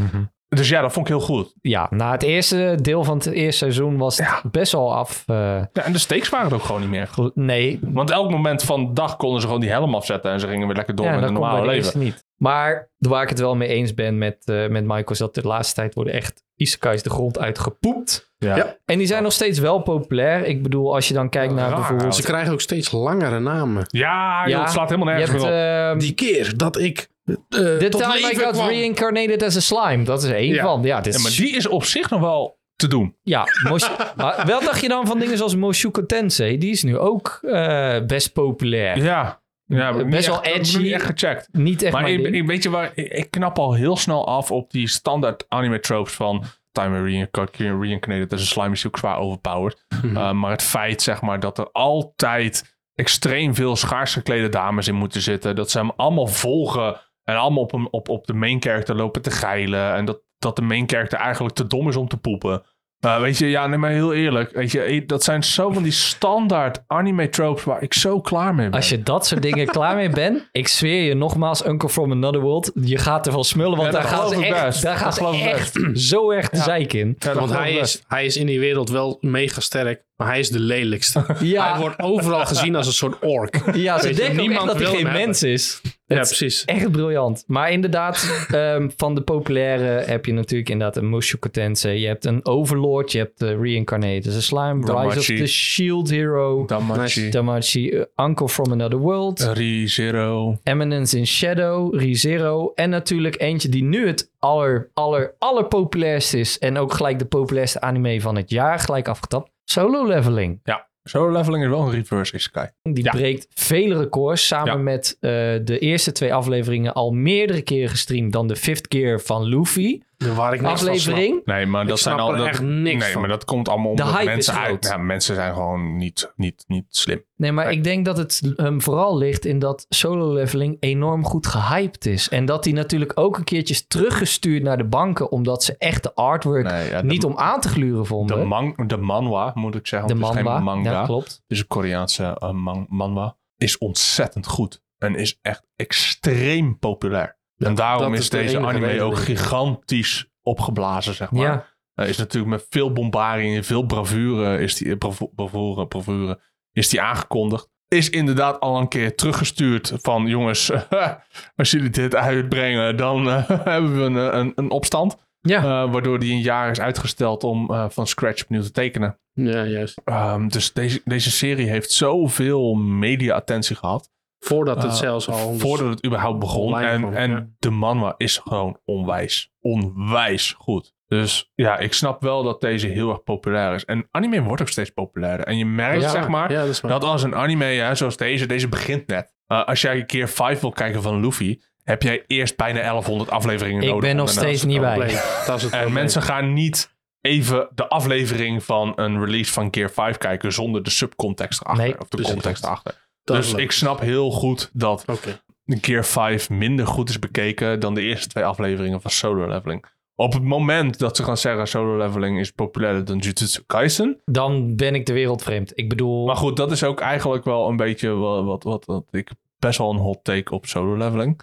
[SPEAKER 3] Dus ja, dat vond ik heel goed.
[SPEAKER 2] Ja, na het eerste deel van het eerste seizoen was het best wel af. eh,
[SPEAKER 3] Ja, en de stakes waren het ook gewoon niet meer.
[SPEAKER 2] gel- nee,
[SPEAKER 3] Want elk moment van de dag konden ze gewoon die helm afzetten en ze gingen weer lekker door
[SPEAKER 2] ja,
[SPEAKER 3] met
[SPEAKER 2] dat
[SPEAKER 3] hun
[SPEAKER 2] komt bij
[SPEAKER 3] normale
[SPEAKER 2] de
[SPEAKER 3] leven.
[SPEAKER 2] eerste niet. Maar waar ik het wel mee eens ben met, eh, met Michael is dat de laatste tijd worden echt isekais de grond uitgepoept.
[SPEAKER 3] Ja.
[SPEAKER 1] Ja.
[SPEAKER 2] En die zijn nog steeds wel populair. Ik bedoel, als je dan kijkt naar
[SPEAKER 3] Raar,
[SPEAKER 2] bijvoorbeeld...
[SPEAKER 1] Ze krijgen ook steeds langere namen.
[SPEAKER 3] Ja, joh,
[SPEAKER 2] Ja.
[SPEAKER 3] het slaat helemaal
[SPEAKER 2] Je
[SPEAKER 3] nergens
[SPEAKER 2] hebt,
[SPEAKER 3] meer op.
[SPEAKER 2] ehm,
[SPEAKER 1] Die keer dat ik eh,
[SPEAKER 2] The
[SPEAKER 1] tot
[SPEAKER 2] Time I
[SPEAKER 1] leven
[SPEAKER 2] Got
[SPEAKER 1] kwam.
[SPEAKER 2] Reincarnated as a Slime. Dat is er één
[SPEAKER 1] Ja.
[SPEAKER 2] van. Ja, dit
[SPEAKER 3] Ja,
[SPEAKER 2] is
[SPEAKER 3] maar die is op zich nog wel te doen.
[SPEAKER 2] Ja, Mosh maar wel dacht je dan van dingen zoals Moshuko Tensei? Die is nu ook eh, best populair.
[SPEAKER 3] Ja, ja
[SPEAKER 2] Eh, Best
[SPEAKER 3] niet
[SPEAKER 2] wel
[SPEAKER 3] echt- dat heb ik
[SPEAKER 2] edgy.
[SPEAKER 3] nog niet echt gecheckt.
[SPEAKER 2] Niet echt
[SPEAKER 3] Maar
[SPEAKER 2] mijn
[SPEAKER 3] ik,
[SPEAKER 2] ding.
[SPEAKER 3] ik- weet je waar, ik, ik knap al heel snel af op die standaard anime tropes van Time Reincarnated, Reincarnated dat is een slime is ook zwaar overpowered.
[SPEAKER 2] Mhm.
[SPEAKER 3] Uh, maar het feit zeg maar dat er altijd extreem veel schaars geklede dames in moeten zitten. Dat ze hem allemaal volgen en allemaal op, hem, op, op de main character lopen te geilen. En dat, dat de main character eigenlijk te dom is om te poepen. Uh, weet je, ja, nee, maar heel eerlijk. Weet je, dat zijn zo van die standaard anime tropes waar ik zo klaar mee ben.
[SPEAKER 2] Als je dat soort dingen klaar mee bent, ik zweer je nogmaals, Uncle from Another World, je gaat ervan smullen, want
[SPEAKER 3] Ja,
[SPEAKER 2] daar
[SPEAKER 3] dat
[SPEAKER 2] gaan ze
[SPEAKER 3] geloof ik
[SPEAKER 2] echt,
[SPEAKER 3] best.
[SPEAKER 2] daar gaan
[SPEAKER 3] Dat
[SPEAKER 2] ze
[SPEAKER 3] geloof ik
[SPEAKER 2] echt zo erg de zeik in.
[SPEAKER 3] Ja, dat
[SPEAKER 1] Want
[SPEAKER 3] geloof
[SPEAKER 1] hij
[SPEAKER 3] ik best.
[SPEAKER 1] is, hij is in die wereld wel mega sterk, maar hij is de lelijkste. Hij
[SPEAKER 2] Ja,
[SPEAKER 1] wordt overal gezien als een soort ork.
[SPEAKER 2] ja ze
[SPEAKER 1] Weet je,
[SPEAKER 2] denken ook echt
[SPEAKER 1] niemand
[SPEAKER 2] dat hij
[SPEAKER 1] wil
[SPEAKER 2] geen
[SPEAKER 1] hem hebben.
[SPEAKER 2] mens is.
[SPEAKER 1] Ja,
[SPEAKER 2] Het is
[SPEAKER 1] precies.
[SPEAKER 2] Echt briljant. Maar inderdaad, ehm, van de populaire heb je natuurlijk inderdaad een Mushoku Tensei. Je hebt een Overlord, je hebt de Reincarnated as a Slime, Rise of
[SPEAKER 3] Damachi.
[SPEAKER 2] the Shield Hero,
[SPEAKER 3] Damachi.
[SPEAKER 2] Damachi, eh, Uncle from Another World.
[SPEAKER 3] Re-Zero.
[SPEAKER 2] Eminence in Shadow, ReZero. En natuurlijk eentje die nu het aller, aller, aller populairst is. En ook gelijk de populairste anime van het jaar. Gelijk afgetapt. Solo Leveling.
[SPEAKER 3] Ja, solo leveling is wel een reverse isekai.
[SPEAKER 2] Die
[SPEAKER 3] Ja.
[SPEAKER 2] breekt vele records. Samen
[SPEAKER 3] Ja.
[SPEAKER 2] met eh, de eerste twee afleveringen al meerdere keren gestreamd dan de fifth keer van Luffy.
[SPEAKER 1] Waar ik niks van
[SPEAKER 2] aflevering.
[SPEAKER 3] Nee, maar dat
[SPEAKER 1] snap
[SPEAKER 3] zijn al
[SPEAKER 1] er
[SPEAKER 3] dat,
[SPEAKER 1] echt niks
[SPEAKER 3] Nee,
[SPEAKER 1] van.
[SPEAKER 3] maar dat komt allemaal
[SPEAKER 2] De
[SPEAKER 3] omdat
[SPEAKER 2] hype
[SPEAKER 3] mensen
[SPEAKER 2] is groot.
[SPEAKER 3] uit. Ja, mensen zijn gewoon niet, niet, niet slim.
[SPEAKER 2] Nee, maar ik denk dat het hem vooral ligt in dat solo leveling enorm goed gehyped is. En dat hij natuurlijk ook een keertje is teruggestuurd naar de banken. Omdat ze echt de artwork
[SPEAKER 3] Nee, ja, de-
[SPEAKER 2] niet om aan te gluren vonden.
[SPEAKER 3] De, man, de manwa, moet ik zeggen.
[SPEAKER 2] de
[SPEAKER 3] want het is
[SPEAKER 2] manwa.
[SPEAKER 3] geen manga.
[SPEAKER 2] Ja, klopt.
[SPEAKER 3] Het is een Koreaanse eh, man- manwa. is ontzettend goed. En is echt extreem populair. en daarom
[SPEAKER 1] dat
[SPEAKER 3] is,
[SPEAKER 1] is de
[SPEAKER 3] deze
[SPEAKER 1] enige
[SPEAKER 3] anime
[SPEAKER 1] reden,
[SPEAKER 3] ook
[SPEAKER 1] denk ik.
[SPEAKER 3] gigantisch opgeblazen, zeg maar.
[SPEAKER 2] Ja,
[SPEAKER 3] Eh, is natuurlijk met veel bombarie en veel bravure is die, eh, bravo- bravure, bravure, is die aangekondigd. Is inderdaad al een keer teruggestuurd van jongens, als jullie dit uitbrengen, dan eh, hebben we een, een, een opstand.
[SPEAKER 2] ja.
[SPEAKER 3] Eh, waardoor die een jaar is uitgesteld om eh, van scratch opnieuw te tekenen.
[SPEAKER 1] Ja, juist.
[SPEAKER 3] Ehm, dus deze, deze serie heeft zoveel media-attentie gehad.
[SPEAKER 1] Voordat het
[SPEAKER 3] Eh,
[SPEAKER 1] zelfs Ah, al...
[SPEAKER 3] voordat het überhaupt begon.
[SPEAKER 1] online
[SPEAKER 3] En,
[SPEAKER 1] kwam,
[SPEAKER 3] en
[SPEAKER 1] ja.
[SPEAKER 3] de manwa is gewoon onwijs. Onwijs goed. Dus ja, ik snap wel dat deze heel erg populair is. En anime wordt ook steeds populairder. En je merkt,
[SPEAKER 1] Ja,
[SPEAKER 3] zeg maar,
[SPEAKER 1] Ja, dat is waar.
[SPEAKER 3] dat als een anime, hè, zoals deze, deze begint net. Eh, als jij een keer 5 wil kijken van Luffy, heb jij eerst bijna 1100 afleveringen
[SPEAKER 2] Ik
[SPEAKER 3] nodig.
[SPEAKER 2] ben
[SPEAKER 3] om
[SPEAKER 2] nog
[SPEAKER 3] daarna
[SPEAKER 2] steeds
[SPEAKER 3] te
[SPEAKER 2] niet
[SPEAKER 3] komen.
[SPEAKER 2] bij.
[SPEAKER 1] Probleem. Dat is het
[SPEAKER 3] En
[SPEAKER 1] probleem.
[SPEAKER 3] Eh, mensen gaan niet even de aflevering van een release van Gear 5 kijken zonder de subcontext erachter.
[SPEAKER 2] Nee,
[SPEAKER 3] of de
[SPEAKER 1] precies.
[SPEAKER 3] context erachter.
[SPEAKER 1] Dat is
[SPEAKER 3] dus
[SPEAKER 1] leuk.
[SPEAKER 3] ik snap heel goed dat
[SPEAKER 1] Oké.
[SPEAKER 3] Gear 5 minder goed is bekeken dan de eerste twee afleveringen van Solo Leveling. Op het moment dat ze gaan zeggen Solo Leveling is populairder dan Jujutsu Kaisen.
[SPEAKER 2] dan ben ik de wereld vreemd. Ik bedoel,
[SPEAKER 3] Maar goed, dat is ook eigenlijk wel een beetje wa- wat, wat, wat ik best wel een hot take op Solo Leveling.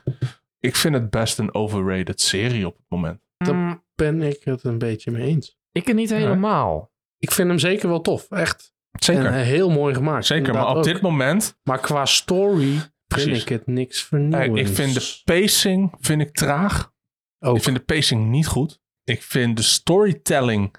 [SPEAKER 3] Ik vind het best een overrated serie op het moment.
[SPEAKER 2] mm,
[SPEAKER 1] Ben ik het een beetje mee eens.
[SPEAKER 2] ik het niet helemaal.
[SPEAKER 1] Ik vind hem zeker wel tof. Echt. En eh, heel mooi gemaakt.
[SPEAKER 3] Zeker, maar
[SPEAKER 1] Inderdaad
[SPEAKER 3] op
[SPEAKER 1] ook.
[SPEAKER 3] dit moment
[SPEAKER 1] Maar qua story
[SPEAKER 3] Precies.
[SPEAKER 1] vind ik het niks
[SPEAKER 3] Hey,
[SPEAKER 1] vernieuwends.
[SPEAKER 3] ik vind de pacing vind ik traag.
[SPEAKER 1] Ook.
[SPEAKER 3] Ik vind de pacing niet goed. Ik vind de storytelling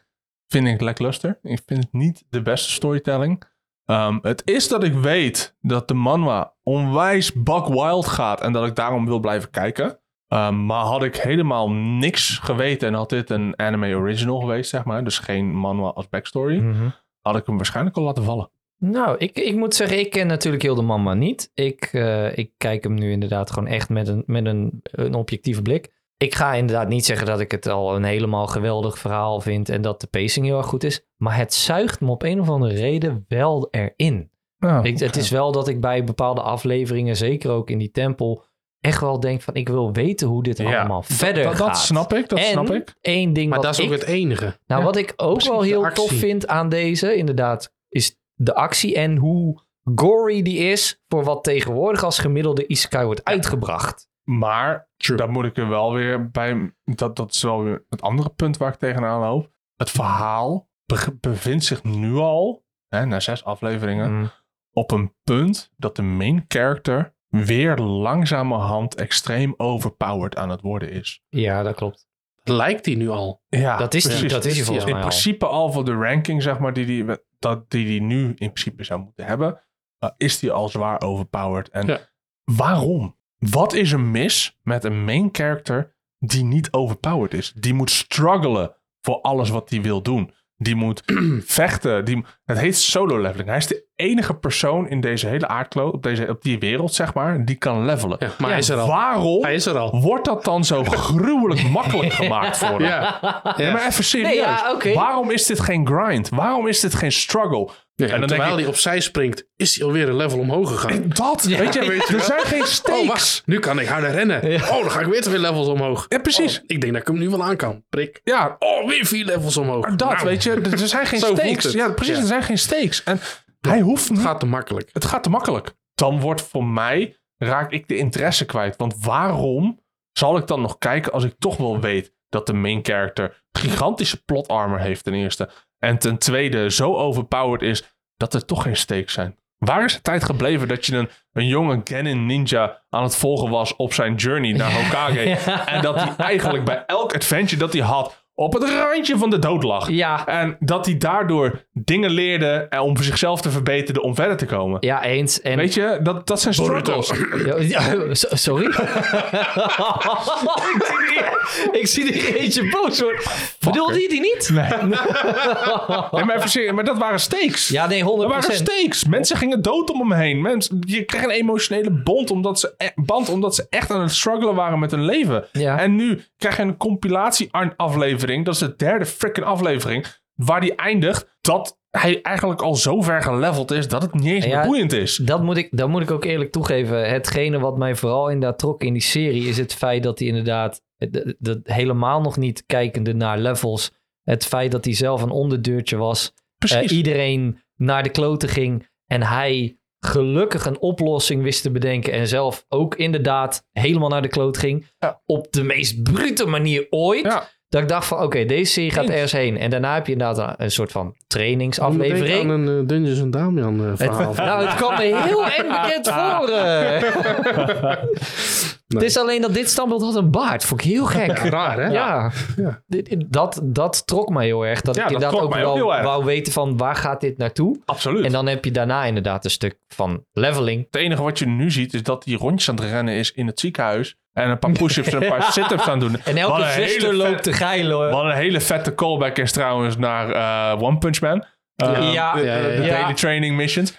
[SPEAKER 3] vind ik lackluster. Ik vind het niet de beste storytelling. Ehm, het is dat ik weet dat de manwa onwijs buck wild gaat en dat ik daarom wil blijven kijken. Ehm, maar had ik helemaal niks geweten en had dit een anime original geweest, zeg maar, dus geen manwa als
[SPEAKER 2] Hm.
[SPEAKER 3] backstory,
[SPEAKER 2] Mhm.
[SPEAKER 3] had ik hem waarschijnlijk al laten vallen.
[SPEAKER 2] Nou, ik, ik moet zeggen, ik ken natuurlijk heel de mama niet. Ik, eh, ik kijk hem nu inderdaad gewoon echt met, een, met een, een objectieve blik. Ik ga inderdaad niet zeggen dat ik het al een helemaal geweldig verhaal vind en dat de pacing heel erg goed is. Maar het zuigt me op een of andere reden wel erin.
[SPEAKER 3] Oh,
[SPEAKER 2] Ik, het is wel dat ik bij bepaalde afleveringen, zeker ook in die tempel, echt wel denk van ik wil weten hoe dit
[SPEAKER 3] Ja,
[SPEAKER 2] allemaal verder
[SPEAKER 3] dat,
[SPEAKER 2] gaat.
[SPEAKER 3] dat snap ik, dat
[SPEAKER 2] en
[SPEAKER 3] snap ik.
[SPEAKER 2] één ding
[SPEAKER 1] maar
[SPEAKER 2] wat
[SPEAKER 1] dat is ook
[SPEAKER 2] ik
[SPEAKER 1] het enige.
[SPEAKER 2] nou,
[SPEAKER 1] Ja.
[SPEAKER 2] wat ik ook
[SPEAKER 1] precies,
[SPEAKER 2] wel
[SPEAKER 1] de
[SPEAKER 2] heel
[SPEAKER 1] actie.
[SPEAKER 2] tof vind aan deze, inderdaad, is de actie en hoe gory die is voor wat tegenwoordig als gemiddelde isekai wordt uitgebracht.
[SPEAKER 3] Maar
[SPEAKER 1] True.
[SPEAKER 3] dat moet ik er wel weer bij. Dat, dat is wel weer het andere punt waar ik tegenaan loop. Het verhaal be- bevindt zich nu al, hè, na zes afleveringen,
[SPEAKER 2] Mm.
[SPEAKER 3] op een punt dat de main character weer langzamerhand extreem overpowered aan het worden is.
[SPEAKER 2] Ja, dat klopt.
[SPEAKER 1] Lijkt die nu al.
[SPEAKER 3] Ja,
[SPEAKER 2] dat is die,
[SPEAKER 1] precies.
[SPEAKER 2] dat is die volgens
[SPEAKER 1] Ja.
[SPEAKER 3] in
[SPEAKER 2] mij al.
[SPEAKER 3] principe al voor de ranking, zeg maar, die die, dat, die, die nu in principe zou moeten hebben, eh, is die al zwaar overpowered. En
[SPEAKER 1] Ja.
[SPEAKER 3] waarom? Wat is er mis met een main character die niet overpowered is? Die moet struggelen voor alles wat hij wil doen. Die moet vechten. Die, het heet solo leveling. Hij is de enige persoon in deze hele aardkloot, op, deze, op die wereld, zeg maar, die kan levelen.
[SPEAKER 1] Ja, maar hij is er al.
[SPEAKER 3] Waarom
[SPEAKER 1] Hij is er al.
[SPEAKER 3] wordt dat dan zo gruwelijk makkelijk gemaakt voor hem?
[SPEAKER 1] Ja.
[SPEAKER 3] Ja, maar even serieus.
[SPEAKER 2] Nee, ja, oké.
[SPEAKER 3] Waarom is dit geen grind? Waarom is dit geen struggle?
[SPEAKER 1] Ja,
[SPEAKER 3] en dan denk
[SPEAKER 1] terwijl
[SPEAKER 3] ik,
[SPEAKER 1] hij opzij springt, is hij alweer een level omhoog gegaan.
[SPEAKER 3] dat, weet je,
[SPEAKER 1] weet je
[SPEAKER 3] er
[SPEAKER 1] wel.
[SPEAKER 3] zijn geen
[SPEAKER 1] Oh,
[SPEAKER 3] stakes.
[SPEAKER 1] wacht. Nu kan ik harder rennen. Oh, dan ga ik weer twee levels omhoog.
[SPEAKER 3] ja, precies.
[SPEAKER 1] Oh, ik denk dat ik hem nu wel aan kan. Prik.
[SPEAKER 3] Ja,
[SPEAKER 1] Oh, weer vier levels omhoog.
[SPEAKER 3] dat,
[SPEAKER 1] Nou,
[SPEAKER 3] weet je, er er zijn geen
[SPEAKER 1] Zo voelt
[SPEAKER 3] stakes.
[SPEAKER 1] het.
[SPEAKER 3] Ja, precies,
[SPEAKER 1] Ja.
[SPEAKER 3] er zijn geen stakes. En hij hoeft niet,
[SPEAKER 1] Gaat te makkelijk.
[SPEAKER 3] het gaat te makkelijk. Dan wordt voor mij, raak ik de interesse kwijt. Want waarom zal ik dan nog kijken als ik toch wel weet dat de main character gigantische plot armor heeft ten eerste. En ten tweede zo overpowered is dat er toch geen stakes zijn. Waar is de tijd gebleven dat je een, een jonge Genin ninja aan het volgen was op zijn journey naar Hokage? En dat hij eigenlijk bij elk adventure dat hij had op het randje van de dood lag.
[SPEAKER 2] Ja.
[SPEAKER 3] En dat hij daardoor dingen leerde eh, om zichzelf te verbeteren om verder te komen.
[SPEAKER 2] Ja, eens. En
[SPEAKER 3] Weet je, dat, dat zijn struggles.
[SPEAKER 2] Ja, ja, so- sorry. ik, zie die, ik zie die eentje boos worden. Bedoelde je die niet?
[SPEAKER 3] Nee, maar, even serieus, maar dat waren stakes.
[SPEAKER 2] Ja, nee, 100%.
[SPEAKER 3] dat waren stakes. Mensen gingen dood om hem heen. Mensen, je kreeg een emotionele bond omdat, ze, e- band omdat ze echt aan het struggelen waren met hun leven.
[SPEAKER 2] Ja.
[SPEAKER 3] En nu krijg je een compilatie-aflevering. Dat is de derde freaking aflevering. Waar die eindigt dat hij eigenlijk al zo ver geleveld is dat het niet eens
[SPEAKER 2] Ja, Eh,
[SPEAKER 3] meer boeiend is.
[SPEAKER 2] Dat moet, ik, dat moet ik ook eerlijk toegeven. Hetgene wat mij vooral inderdaad trok in die serie is het feit dat hij inderdaad dat, dat helemaal nog niet kijkende naar levels. Het feit dat hij zelf een onderdeurtje was. eh,
[SPEAKER 3] Precies.
[SPEAKER 2] iedereen naar de kloten ging en hij gelukkig een oplossing wist te bedenken. En zelf ook inderdaad helemaal naar de kloot ging.
[SPEAKER 3] Ja.
[SPEAKER 2] Op de meest brute manier ooit.
[SPEAKER 3] Ja.
[SPEAKER 2] Dat ik dacht van, oké, deze serie gaat
[SPEAKER 3] Eens.
[SPEAKER 2] ergens heen. En daarna heb je inderdaad een, een soort van
[SPEAKER 1] Aan
[SPEAKER 2] trainingsaflevering.
[SPEAKER 1] een eh, Dungeons and Damian eh, verhaal.
[SPEAKER 2] Nou, het kwam me heel eng bekend voor. eh. Het is alleen dat dit standbeeld had een baard. Vond ik heel gek.
[SPEAKER 1] Raar, hè?
[SPEAKER 2] Ja,
[SPEAKER 1] Ja.
[SPEAKER 2] Dit- Dat, dat trok mij heel erg. Dat
[SPEAKER 3] Ja,
[SPEAKER 2] ik
[SPEAKER 3] dat
[SPEAKER 2] inderdaad
[SPEAKER 3] trok
[SPEAKER 2] ook
[SPEAKER 3] mij ook
[SPEAKER 2] wel
[SPEAKER 3] heel erg.
[SPEAKER 2] wou weten van waar gaat dit naartoe.
[SPEAKER 3] Absoluut.
[SPEAKER 2] En dan heb je daarna inderdaad een stuk van leveling.
[SPEAKER 3] Het enige wat je nu ziet is dat die rondjes aan het rennen is in het ziekenhuis. En een paar push-ups en een paar sit-ups aan het doen.
[SPEAKER 2] En elke
[SPEAKER 3] Wat een hele
[SPEAKER 2] zuster loopt
[SPEAKER 3] vette-
[SPEAKER 2] te geilen. hoor.
[SPEAKER 3] Wat een hele vette callback is trouwens naar eh, One Punch Man. Eh,
[SPEAKER 2] Ja.
[SPEAKER 3] de,
[SPEAKER 1] Ja, ja,
[SPEAKER 3] de- de
[SPEAKER 2] ja.
[SPEAKER 3] daily training missions.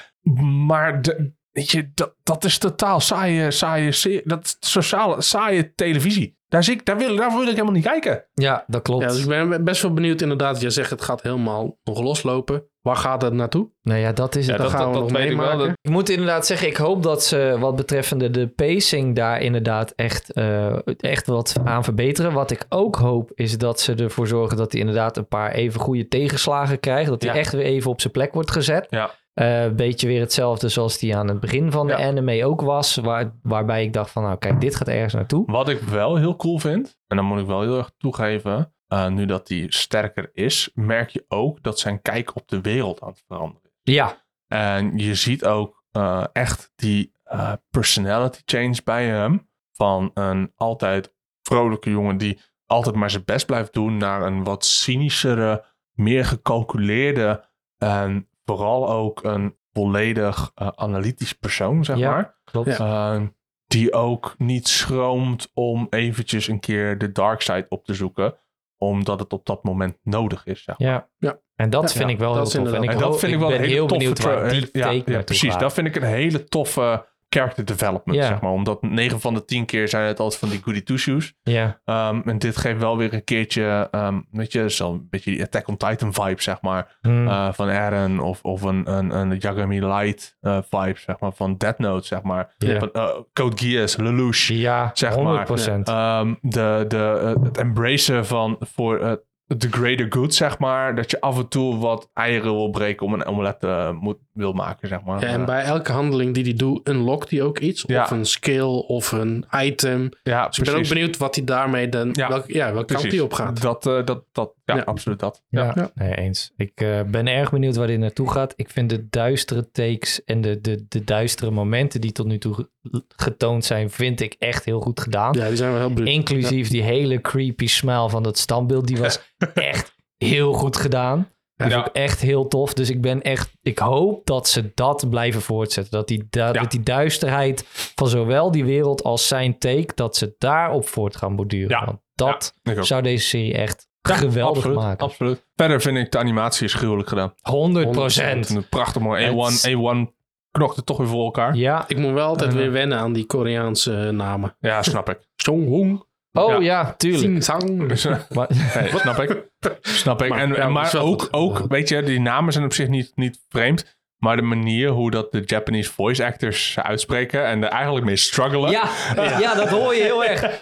[SPEAKER 3] Maar de- weet je, dat, dat is totaal saaie, saaie, se- dat is sociale, saaie televisie. Daar, zie ik, daar, wil, daar wil ik helemaal niet kijken.
[SPEAKER 2] Ja, dat klopt.
[SPEAKER 1] Ja, dus ik ben best wel benieuwd inderdaad. Jij zegt het gaat helemaal nog loslopen. Waar gaat het naartoe?
[SPEAKER 2] Nou ja, dat is het.
[SPEAKER 1] dat- gaan we nog
[SPEAKER 3] weet ik wel.
[SPEAKER 1] meemaken.
[SPEAKER 3] Dat-
[SPEAKER 2] Ik moet inderdaad zeggen, ik hoop dat ze wat betreffende de pacing daar inderdaad echt, eh, echt wat aan verbeteren. Wat ik ook hoop is dat ze ervoor zorgen dat hij inderdaad een paar even goede tegenslagen krijgt. Dat hij
[SPEAKER 3] Ja.
[SPEAKER 2] echt weer even op zijn plek wordt gezet.
[SPEAKER 3] Ja.
[SPEAKER 2] Eh, Een beetje weer hetzelfde zoals die aan het begin van de
[SPEAKER 3] Ja.
[SPEAKER 2] anime ook was. Waar, waarbij ik dacht van nou kijk, dit gaat ergens naartoe.
[SPEAKER 3] Wat ik wel heel cool vind, en dan moet ik wel heel erg toegeven, eh, nu dat hij sterker is, merk je ook dat zijn kijk op de wereld aan het veranderen is.
[SPEAKER 2] Ja,
[SPEAKER 3] En je ziet ook eh, echt die eh, personality change bij hem. Van een altijd vrolijke jongen die altijd maar zijn best blijft doen, naar een wat cynischere, meer gecalculeerde en vooral ook een volledig eh, analytisch persoon, zeg
[SPEAKER 2] Ja.
[SPEAKER 3] maar.
[SPEAKER 1] Ja.
[SPEAKER 2] klopt.
[SPEAKER 3] Ehm, die ook niet schroomt om eventjes een keer de dark side op te zoeken. Omdat het op dat moment nodig is. Zeg.
[SPEAKER 2] Ja.
[SPEAKER 1] Ja.
[SPEAKER 2] En dat
[SPEAKER 1] Ja,
[SPEAKER 2] vind
[SPEAKER 1] ja.
[SPEAKER 2] ik wel
[SPEAKER 1] Dat
[SPEAKER 2] heel
[SPEAKER 1] is
[SPEAKER 2] tof. En
[SPEAKER 1] inderdaad-
[SPEAKER 2] ik,
[SPEAKER 3] En dat
[SPEAKER 2] hoop-
[SPEAKER 3] vind ik wel
[SPEAKER 2] ben
[SPEAKER 3] een hele
[SPEAKER 2] heel
[SPEAKER 3] toffe...
[SPEAKER 2] benieuwd
[SPEAKER 3] tra- eh,
[SPEAKER 2] waar die
[SPEAKER 3] ja,
[SPEAKER 2] take
[SPEAKER 3] ja,
[SPEAKER 2] naartoe
[SPEAKER 3] precies.
[SPEAKER 2] gaat.
[SPEAKER 3] Dat vind ik een hele toffe character development,
[SPEAKER 2] Ja.
[SPEAKER 3] zeg maar. Omdat 9 van de 10 keer zijn het altijd van die goody two-shoes.
[SPEAKER 2] Ja,
[SPEAKER 3] Ehm, en dit geeft wel weer een keertje, ehm weet je, zo'n beetje die Attack on Titan vibe, zeg maar.
[SPEAKER 2] Hmm.
[SPEAKER 3] eh, van Eren of, of een, een, een Yagami Light eh, vibe, zeg maar, van Death Note, zeg maar.
[SPEAKER 2] Ja.
[SPEAKER 3] Van, eh, Code Geass, Lelouch,
[SPEAKER 2] ja
[SPEAKER 3] zeg
[SPEAKER 2] 100
[SPEAKER 3] Ehm, de, de, eh, het embracen van voor eh, the greater good, zeg maar. Dat je af en toe wat eieren wil breken om een omelet eh, moet, wil maken, zeg maar.
[SPEAKER 1] Ja, en
[SPEAKER 3] Eh,
[SPEAKER 1] bij elke handeling die hij doet, unlockt hij ook iets.
[SPEAKER 3] Ja.
[SPEAKER 1] Of een skill of een item. Dus
[SPEAKER 3] ja,
[SPEAKER 1] ik ben ook benieuwd wat hij daarmee dan.
[SPEAKER 3] Ja,
[SPEAKER 1] welke, ja, welke kant hij op gaat.
[SPEAKER 3] Dat, eh, dat, dat, ja,
[SPEAKER 1] Ja.
[SPEAKER 3] absoluut dat.
[SPEAKER 2] Ja,
[SPEAKER 1] Ja.
[SPEAKER 2] Nee, eens. Ik eh, ben erg benieuwd waar dit naartoe gaat. Ik vind de duistere takes en de, de, de duistere momenten die tot nu toe ge- getoond zijn, vind ik echt heel goed gedaan.
[SPEAKER 1] Ja, die zijn wel heel bruut.
[SPEAKER 2] Inclusief die hele creepy smile van dat standbeeld, die was echt heel goed gedaan. Die
[SPEAKER 3] Ja.
[SPEAKER 2] vond ik echt heel tof. Dus ik ben echt, ik hoop dat ze dat blijven voortzetten. Dat die, da-
[SPEAKER 3] Ja.
[SPEAKER 2] dat die duisterheid van zowel die wereld als zijn take, dat ze daarop voort gaan borduren.
[SPEAKER 3] Ja.
[SPEAKER 2] Want dat
[SPEAKER 3] Ja, ik ook.
[SPEAKER 2] zou deze serie echt geweldig
[SPEAKER 3] absoluut,
[SPEAKER 2] maken.
[SPEAKER 3] Absoluut. Verder vind ik de animatie is gruwelijk gedaan.
[SPEAKER 2] 100
[SPEAKER 3] Het is een prachtig mooi.
[SPEAKER 2] Het-
[SPEAKER 3] A1, A1 knokt het toch weer voor elkaar. Ja,
[SPEAKER 2] Ja.
[SPEAKER 1] Ik moet wel altijd
[SPEAKER 3] Eh.
[SPEAKER 1] weer wennen aan die Koreaanse eh, namen.
[SPEAKER 3] snap ik.
[SPEAKER 1] Songhong,
[SPEAKER 2] Oh ja, tuurlijk.
[SPEAKER 1] Singsang.
[SPEAKER 3] Dus, eh,
[SPEAKER 2] Maar,
[SPEAKER 3] nee, snap ik. Snap ik.
[SPEAKER 1] Maar,
[SPEAKER 3] en,
[SPEAKER 1] ja,
[SPEAKER 3] en
[SPEAKER 1] dat is
[SPEAKER 3] maar
[SPEAKER 1] wel
[SPEAKER 3] ook,
[SPEAKER 1] goed.
[SPEAKER 3] ook, weet je, die namen zijn op zich niet, niet vreemd. Maar de manier hoe dat de Japanese voice actors ze uitspreken en er eigenlijk mee struggelen,
[SPEAKER 2] ja, ja, dat hoor je heel erg.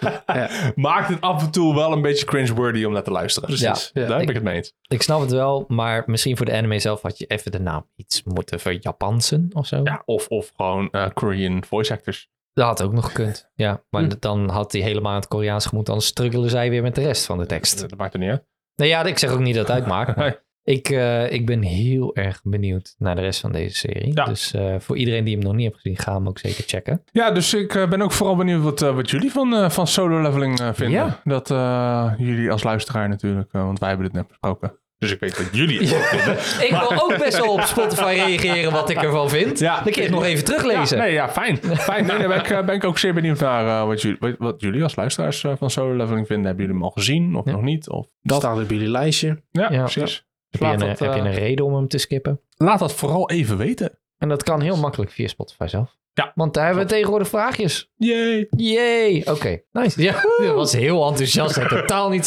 [SPEAKER 3] maakt het af en toe wel een beetje cringeworthy om naar te luisteren.
[SPEAKER 1] Precies. Ja.
[SPEAKER 3] Daar heb ik het mee eens.
[SPEAKER 2] Ik snap het wel, maar misschien voor de anime zelf had je even de naam iets moeten verjapansen of zo.
[SPEAKER 3] Ja, of, of gewoon eh, Korean voice actors.
[SPEAKER 2] Dat had ook nog gekund. Ja, maar
[SPEAKER 1] Hm.
[SPEAKER 2] dat- dan had hij helemaal aan het Koreaans gemoet, anders struggelen zij weer met de rest van de tekst.
[SPEAKER 3] Eh, Dat maakt er niet uit.
[SPEAKER 2] Nou ja, ik zeg ook niet dat het uitmaakt. maar
[SPEAKER 3] Nee.
[SPEAKER 2] ik, eh, ik ben heel erg benieuwd naar de rest van deze serie.
[SPEAKER 3] Ja.
[SPEAKER 2] Dus eh, voor iedereen die hem nog niet heeft gezien, ga hem ook zeker checken.
[SPEAKER 3] Ja, dus ik eh, ben ook vooral benieuwd wat, eh, wat jullie van, eh, van solo leveling eh, vinden.
[SPEAKER 2] Ja.
[SPEAKER 3] Dat eh, jullie als luisteraar natuurlijk, eh, want wij hebben dit net besproken. Dus ik weet dat jullie het ook vinden.
[SPEAKER 2] Ik wil ook best wel op Spotify reageren wat ik ervan vind.
[SPEAKER 3] Ja.
[SPEAKER 2] Dan kun je het nog even teruglezen.
[SPEAKER 3] Ja, nee, ja, fijn. fijn. Nee, daar ben ik, eh, ben ik ook zeer benieuwd naar eh, wat, jullie, wat, wat jullie als luisteraars eh, van solo leveling vinden. Hebben jullie hem al gezien of
[SPEAKER 2] Ja.
[SPEAKER 3] nog niet? Of
[SPEAKER 1] Dat
[SPEAKER 3] dat,
[SPEAKER 1] staat op jullie lijstje.
[SPEAKER 3] ja,
[SPEAKER 2] Ja.
[SPEAKER 3] precies. Dus
[SPEAKER 2] Heb je,
[SPEAKER 3] laat,
[SPEAKER 2] een,
[SPEAKER 3] dat,
[SPEAKER 2] heb je
[SPEAKER 3] eh,
[SPEAKER 2] een reden om hem te skippen?
[SPEAKER 3] laat dat vooral even weten.
[SPEAKER 2] En dat kan heel makkelijk via Spotify zelf.
[SPEAKER 3] Ja.
[SPEAKER 2] Want daar hebben we tegenwoordig vraagjes.
[SPEAKER 3] Yay.
[SPEAKER 2] Yay! Oké, nice. Ja, dat was heel enthousiast en totaal
[SPEAKER 3] Nee,
[SPEAKER 2] niet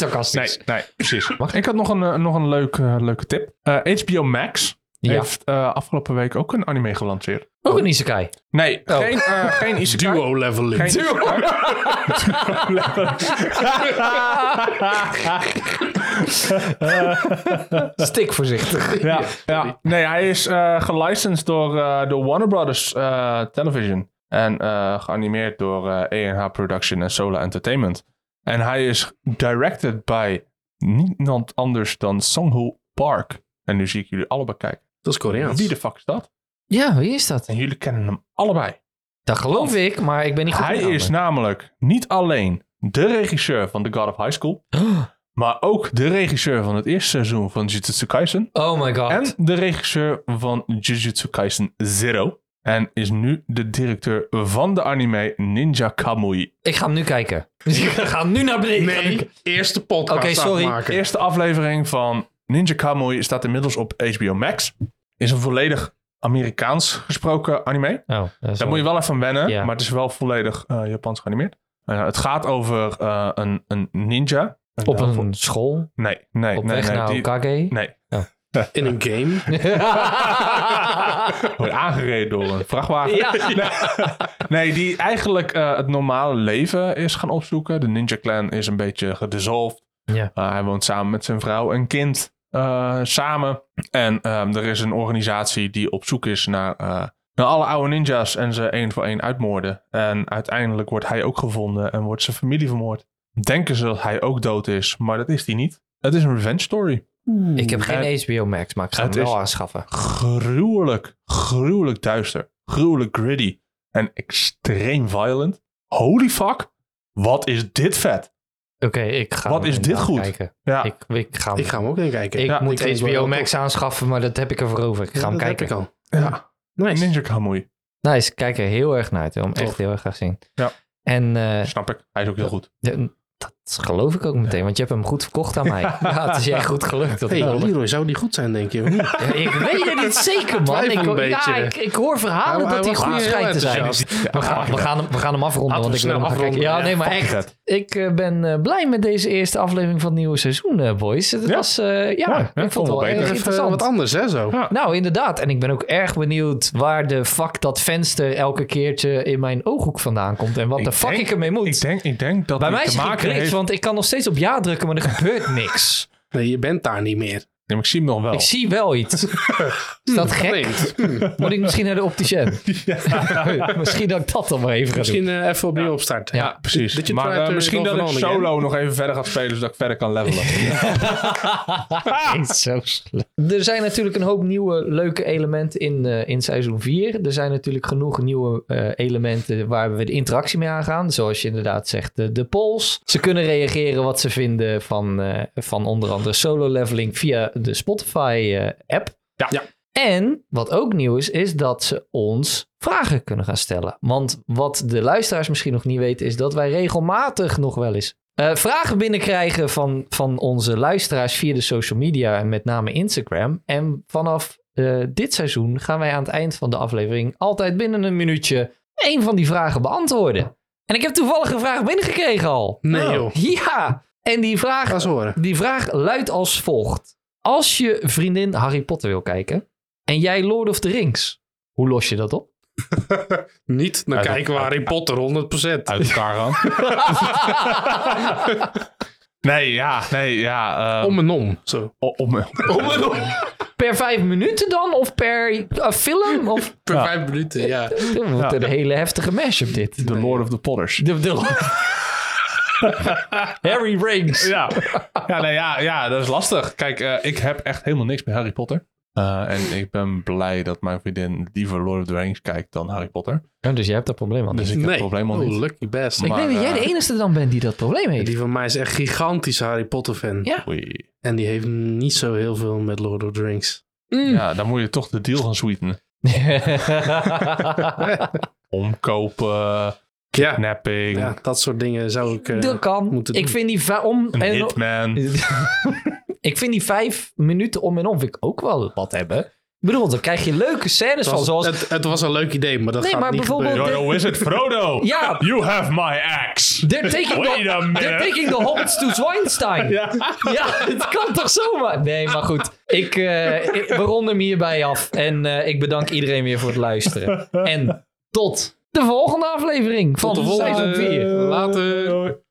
[SPEAKER 2] sarcastisch.
[SPEAKER 3] nee, precies.
[SPEAKER 2] Mag
[SPEAKER 3] ik had nog een, eh, nog een leuk, eh, leuke tip. Eh, HBO Max heeft eh, afgelopen week ook een anime gelanceerd.
[SPEAKER 2] Ook een isekai.
[SPEAKER 3] Nee, geen, eh geen isekai.
[SPEAKER 1] Duo leveling.
[SPEAKER 3] Geen isekai.
[SPEAKER 2] Stik voorzichtig.
[SPEAKER 3] Ja, ja. Nee, hij is eh gelicensed door, eh door Warner Brothers eh, Television. En eh, geanimeerd door eh ENH Production en Sola Entertainment. En hij is directed by niemand anders dan Sungho Park. En nu zie ik jullie allebei kijken.
[SPEAKER 1] Dat is Koreaans.
[SPEAKER 3] Wie de fuck is dat?
[SPEAKER 2] Ja, wie is dat?
[SPEAKER 3] En jullie kennen hem allebei.
[SPEAKER 2] Dat geloof ik, maar ik ben niet goed
[SPEAKER 3] Hij
[SPEAKER 2] in namen.
[SPEAKER 3] is namelijk niet alleen de regisseur van The God of High School, maar ook de regisseur van het eerste seizoen van Jujutsu Kaisen.
[SPEAKER 2] Oh my god.
[SPEAKER 3] En de regisseur van Jujutsu Kaisen Zero. En is nu de directeur van de anime Ninja Kamui.
[SPEAKER 2] Ik ga hem nu kijken. Ik ga hem nu naar beneden.
[SPEAKER 1] Nee, eerste podcast
[SPEAKER 2] Oké, sorry.
[SPEAKER 1] afmaken.
[SPEAKER 3] Eerste aflevering van Ninja Kamui staat inmiddels op HBO Max. Is een volledig Amerikaans gesproken anime.
[SPEAKER 2] Oh, dat is
[SPEAKER 3] Daar
[SPEAKER 2] wel-
[SPEAKER 3] moet je wel even aan wennen,
[SPEAKER 2] Ja.
[SPEAKER 3] maar het is wel volledig eh, Japans geanimeerd. Eh, het gaat over eh, een, een ninja. En
[SPEAKER 2] Op
[SPEAKER 3] daarvoor-
[SPEAKER 2] een school,
[SPEAKER 3] Nee, nee,
[SPEAKER 2] op
[SPEAKER 3] nee.
[SPEAKER 2] weg
[SPEAKER 3] nee,
[SPEAKER 2] naar
[SPEAKER 3] die-
[SPEAKER 2] Okage.
[SPEAKER 3] nee.
[SPEAKER 1] In een game.
[SPEAKER 3] Wordt aangereden door een vrachtwagen.
[SPEAKER 2] Ja.
[SPEAKER 3] Nee, die eigenlijk eh, het normale leven is gaan opzoeken. De Ninja Clan is een beetje gedissolved.
[SPEAKER 2] Ja.
[SPEAKER 3] Eh, hij woont samen met zijn vrouw en kind eh, samen. En ehm, er is een organisatie die op zoek is naar, eh, naar alle oude ninja's en ze één voor één uitmoorden. En uiteindelijk wordt hij ook gevonden en wordt zijn familie vermoord. Denken ze dat hij ook dood is, maar dat is hij niet. Het is een revenge story.
[SPEAKER 2] Ik heb geen
[SPEAKER 3] Het-
[SPEAKER 2] HBO Max, maar ik ga hem
[SPEAKER 3] het
[SPEAKER 2] wel
[SPEAKER 3] is-
[SPEAKER 2] aanschaffen.
[SPEAKER 3] Gruwelijk, gruwelijk duister. Gruwelijk gritty. En extreem violent. Holy fuck. Wat is dit vet?
[SPEAKER 2] Oké, ik ga
[SPEAKER 3] Wat
[SPEAKER 2] hem
[SPEAKER 3] is dit
[SPEAKER 2] inderdaad
[SPEAKER 3] goed?
[SPEAKER 2] Kijken.
[SPEAKER 3] Ja,
[SPEAKER 2] Ik, ik ga hem-
[SPEAKER 1] Ik ga hem ook in kijken.
[SPEAKER 2] ik
[SPEAKER 1] Ja,
[SPEAKER 2] moet
[SPEAKER 1] ik vind het
[SPEAKER 2] HBO
[SPEAKER 1] wel
[SPEAKER 2] Max aanschaffen, maar dat heb ik ervoor over. Ik
[SPEAKER 1] Ja,
[SPEAKER 2] ga hem
[SPEAKER 1] dat heb
[SPEAKER 2] kijken.
[SPEAKER 1] ik al.
[SPEAKER 3] ja.
[SPEAKER 1] Nice.
[SPEAKER 3] Ninja Kamui.
[SPEAKER 2] Nice, ik kijk er heel erg naar uit. Ik wil hem
[SPEAKER 3] Tof.
[SPEAKER 2] echt heel erg graag zien.
[SPEAKER 3] Ja.
[SPEAKER 2] En eh,
[SPEAKER 3] Snap ik. Hij is ook heel goed.
[SPEAKER 2] de- dat geloof ik ook meteen, want je hebt hem goed verkocht aan mij. Ja, het is jij goed gelukt. Dat
[SPEAKER 1] Hey,
[SPEAKER 2] wel.
[SPEAKER 1] Leroy, zou die goed zijn, denk je? of niet?
[SPEAKER 2] Ja, ik weet het niet zeker, man.
[SPEAKER 1] Twijfel
[SPEAKER 2] Ik,
[SPEAKER 1] een
[SPEAKER 2] hoor- ja,
[SPEAKER 1] beetje.
[SPEAKER 2] ik, ik hoor verhalen
[SPEAKER 1] Hij-
[SPEAKER 2] dat
[SPEAKER 1] hij
[SPEAKER 2] hij
[SPEAKER 1] was
[SPEAKER 2] goed
[SPEAKER 1] heel
[SPEAKER 2] schijnt te zijn.
[SPEAKER 1] enthousiast.
[SPEAKER 2] We gaan, we, gaan hem, we gaan hem afronden,
[SPEAKER 1] Laten
[SPEAKER 2] want
[SPEAKER 1] we
[SPEAKER 2] ik wil
[SPEAKER 1] snel
[SPEAKER 2] hem gaan kijken.
[SPEAKER 1] afronden,
[SPEAKER 2] Ja,
[SPEAKER 1] ja.
[SPEAKER 2] nee, maar
[SPEAKER 3] Fuck
[SPEAKER 2] echt.
[SPEAKER 3] that.
[SPEAKER 2] Ik eh, ben eh, blij met deze eerste aflevering van het nieuwe seizoen, eh, boys. Het
[SPEAKER 3] Ja.
[SPEAKER 2] was, eh, ja,
[SPEAKER 3] ja,
[SPEAKER 2] ik
[SPEAKER 3] vond
[SPEAKER 2] vond het
[SPEAKER 3] wel
[SPEAKER 2] wel
[SPEAKER 3] beter.
[SPEAKER 2] erg
[SPEAKER 1] Even eh,
[SPEAKER 2] interessant.
[SPEAKER 1] wat anders, hè, zo.
[SPEAKER 3] Ja.
[SPEAKER 2] nou, inderdaad. En ik ben ook erg benieuwd waar de fuck dat venster elke keertje in mijn ooghoek vandaan komt. En wat
[SPEAKER 3] Ik
[SPEAKER 2] de fuck
[SPEAKER 3] denk-
[SPEAKER 2] ik ermee moet.
[SPEAKER 3] Ik denk, ik denk dat
[SPEAKER 2] Bij
[SPEAKER 3] hij
[SPEAKER 2] mij is
[SPEAKER 3] te
[SPEAKER 2] het
[SPEAKER 3] maken
[SPEAKER 2] gekrikt,
[SPEAKER 3] heeft...
[SPEAKER 2] want ik kan nog steeds op ja drukken, maar er gebeurt niks.
[SPEAKER 1] Nee, je bent daar niet meer.
[SPEAKER 3] Ja, maar ik zie hem nog wel.
[SPEAKER 2] Ik zie wel iets. Is dat gek?
[SPEAKER 1] Vreemd.
[SPEAKER 2] Moet ik misschien naar de opticien? misschien dat ik dat dan maar even ga doen.
[SPEAKER 1] Misschien eh, even opnieuw opstarten.
[SPEAKER 2] Ja,
[SPEAKER 3] Precies.
[SPEAKER 1] Did you
[SPEAKER 3] maar
[SPEAKER 1] try
[SPEAKER 3] eh,
[SPEAKER 1] to
[SPEAKER 3] misschien
[SPEAKER 1] go
[SPEAKER 3] dat ik
[SPEAKER 1] for an again?
[SPEAKER 3] solo nog even verder ga spelen, zodat ik verder kan levelen.
[SPEAKER 2] Is zo slecht. Er zijn natuurlijk een hoop nieuwe leuke elementen in, eh, in seizoen 4. Er zijn natuurlijk genoeg nieuwe eh, elementen waar we de interactie mee aangaan. Zoals je inderdaad zegt, de, de polls. Ze kunnen reageren wat ze vinden van, eh, van onder andere solo leveling via de Spotify eh, app.
[SPEAKER 3] Ja. Ja.
[SPEAKER 2] En wat ook nieuw is, is dat ze ons vragen kunnen gaan stellen. Want wat de luisteraars misschien nog niet weten, is dat wij regelmatig nog wel eens eh, vragen binnenkrijgen van, van onze luisteraars via de social media en met name Instagram. En vanaf eh, dit seizoen gaan wij aan het eind van de aflevering altijd binnen een minuutje één van die vragen beantwoorden. En ik heb toevallig een vraag binnengekregen al. Nou,
[SPEAKER 1] Nee, joh.
[SPEAKER 2] Ja, en die vraag,
[SPEAKER 1] Ga eens horen.
[SPEAKER 2] die vraag luidt als volgt. Als je vriendin Harry Potter wil kijken en jij Lord of the Rings, hoe los je dat op?
[SPEAKER 1] Niet naar
[SPEAKER 3] Uit-
[SPEAKER 1] kijken waar Harry Potter 100%.
[SPEAKER 3] Uit elkaar gaan. nee, ja. Nee, ja. ehm,
[SPEAKER 1] Om en om. Zo.
[SPEAKER 3] o- om,
[SPEAKER 2] Per vijf minuten dan? Of per eh, film? Of,
[SPEAKER 1] Per
[SPEAKER 3] Ja.
[SPEAKER 1] vijf minuten, ja.
[SPEAKER 2] we moeten een hele heftige mashup dit.
[SPEAKER 3] The Lord of the Potters.
[SPEAKER 2] De, de- Harry Rings.
[SPEAKER 3] Ja, ja, nee, ja, ja dat is lastig. Kijk, eh, ik heb echt helemaal niks met Harry Potter. Eh, en ik ben blij dat mijn vriendin liever Lord of the Rings kijkt dan Harry Potter.
[SPEAKER 2] dus jij hebt dat probleem al
[SPEAKER 3] Dus ik heb
[SPEAKER 1] nee.
[SPEAKER 3] het probleem al
[SPEAKER 1] Oh,
[SPEAKER 3] niet.
[SPEAKER 1] lucky best.
[SPEAKER 2] ik
[SPEAKER 3] maar,
[SPEAKER 2] denk dat jij
[SPEAKER 3] eh,
[SPEAKER 2] de enige dan bent die dat probleem heeft.
[SPEAKER 1] Die van mij is echt gigantische Harry Potter fan.
[SPEAKER 2] Ja.
[SPEAKER 3] Oei.
[SPEAKER 1] En die heeft niet zo heel veel met Lord of the Rings.
[SPEAKER 3] Ja, dan moet je toch de deal gaan sweeten. Omkopen,
[SPEAKER 1] Ja.
[SPEAKER 3] napping,
[SPEAKER 1] ja, dat soort dingen zou ik... eh,
[SPEAKER 2] dat kan.
[SPEAKER 1] Moeten
[SPEAKER 2] Ik
[SPEAKER 1] doen.
[SPEAKER 2] vind die va- om...
[SPEAKER 3] een
[SPEAKER 2] en-
[SPEAKER 3] hitman.
[SPEAKER 2] ik vind die vijf minuten om en om vind ik ook wel wat hebben. Ik bedoel, dan krijg je leuke scènes van,
[SPEAKER 1] was,
[SPEAKER 2] zoals...
[SPEAKER 1] het, het was een leuk idee, maar dat
[SPEAKER 2] Nee,
[SPEAKER 1] gaat
[SPEAKER 2] maar
[SPEAKER 1] niet
[SPEAKER 2] bijvoorbeeld-
[SPEAKER 1] gebeuren.
[SPEAKER 3] Yo, is it, Frodo?
[SPEAKER 2] Ja.
[SPEAKER 3] You have my axe.
[SPEAKER 2] They're taking,
[SPEAKER 3] Wait a
[SPEAKER 2] the,
[SPEAKER 3] minute.
[SPEAKER 2] they're taking the hobbits to Zweinstein. Ja. het kan toch zomaar? Nee, maar goed. Ik, eh, ik- we ronden hem hierbij af. En eh, ik bedank iedereen weer voor het luisteren. En tot de volgende aflevering van
[SPEAKER 1] Tot de volgende.
[SPEAKER 2] seizoen 4.
[SPEAKER 1] Later.
[SPEAKER 3] Doei.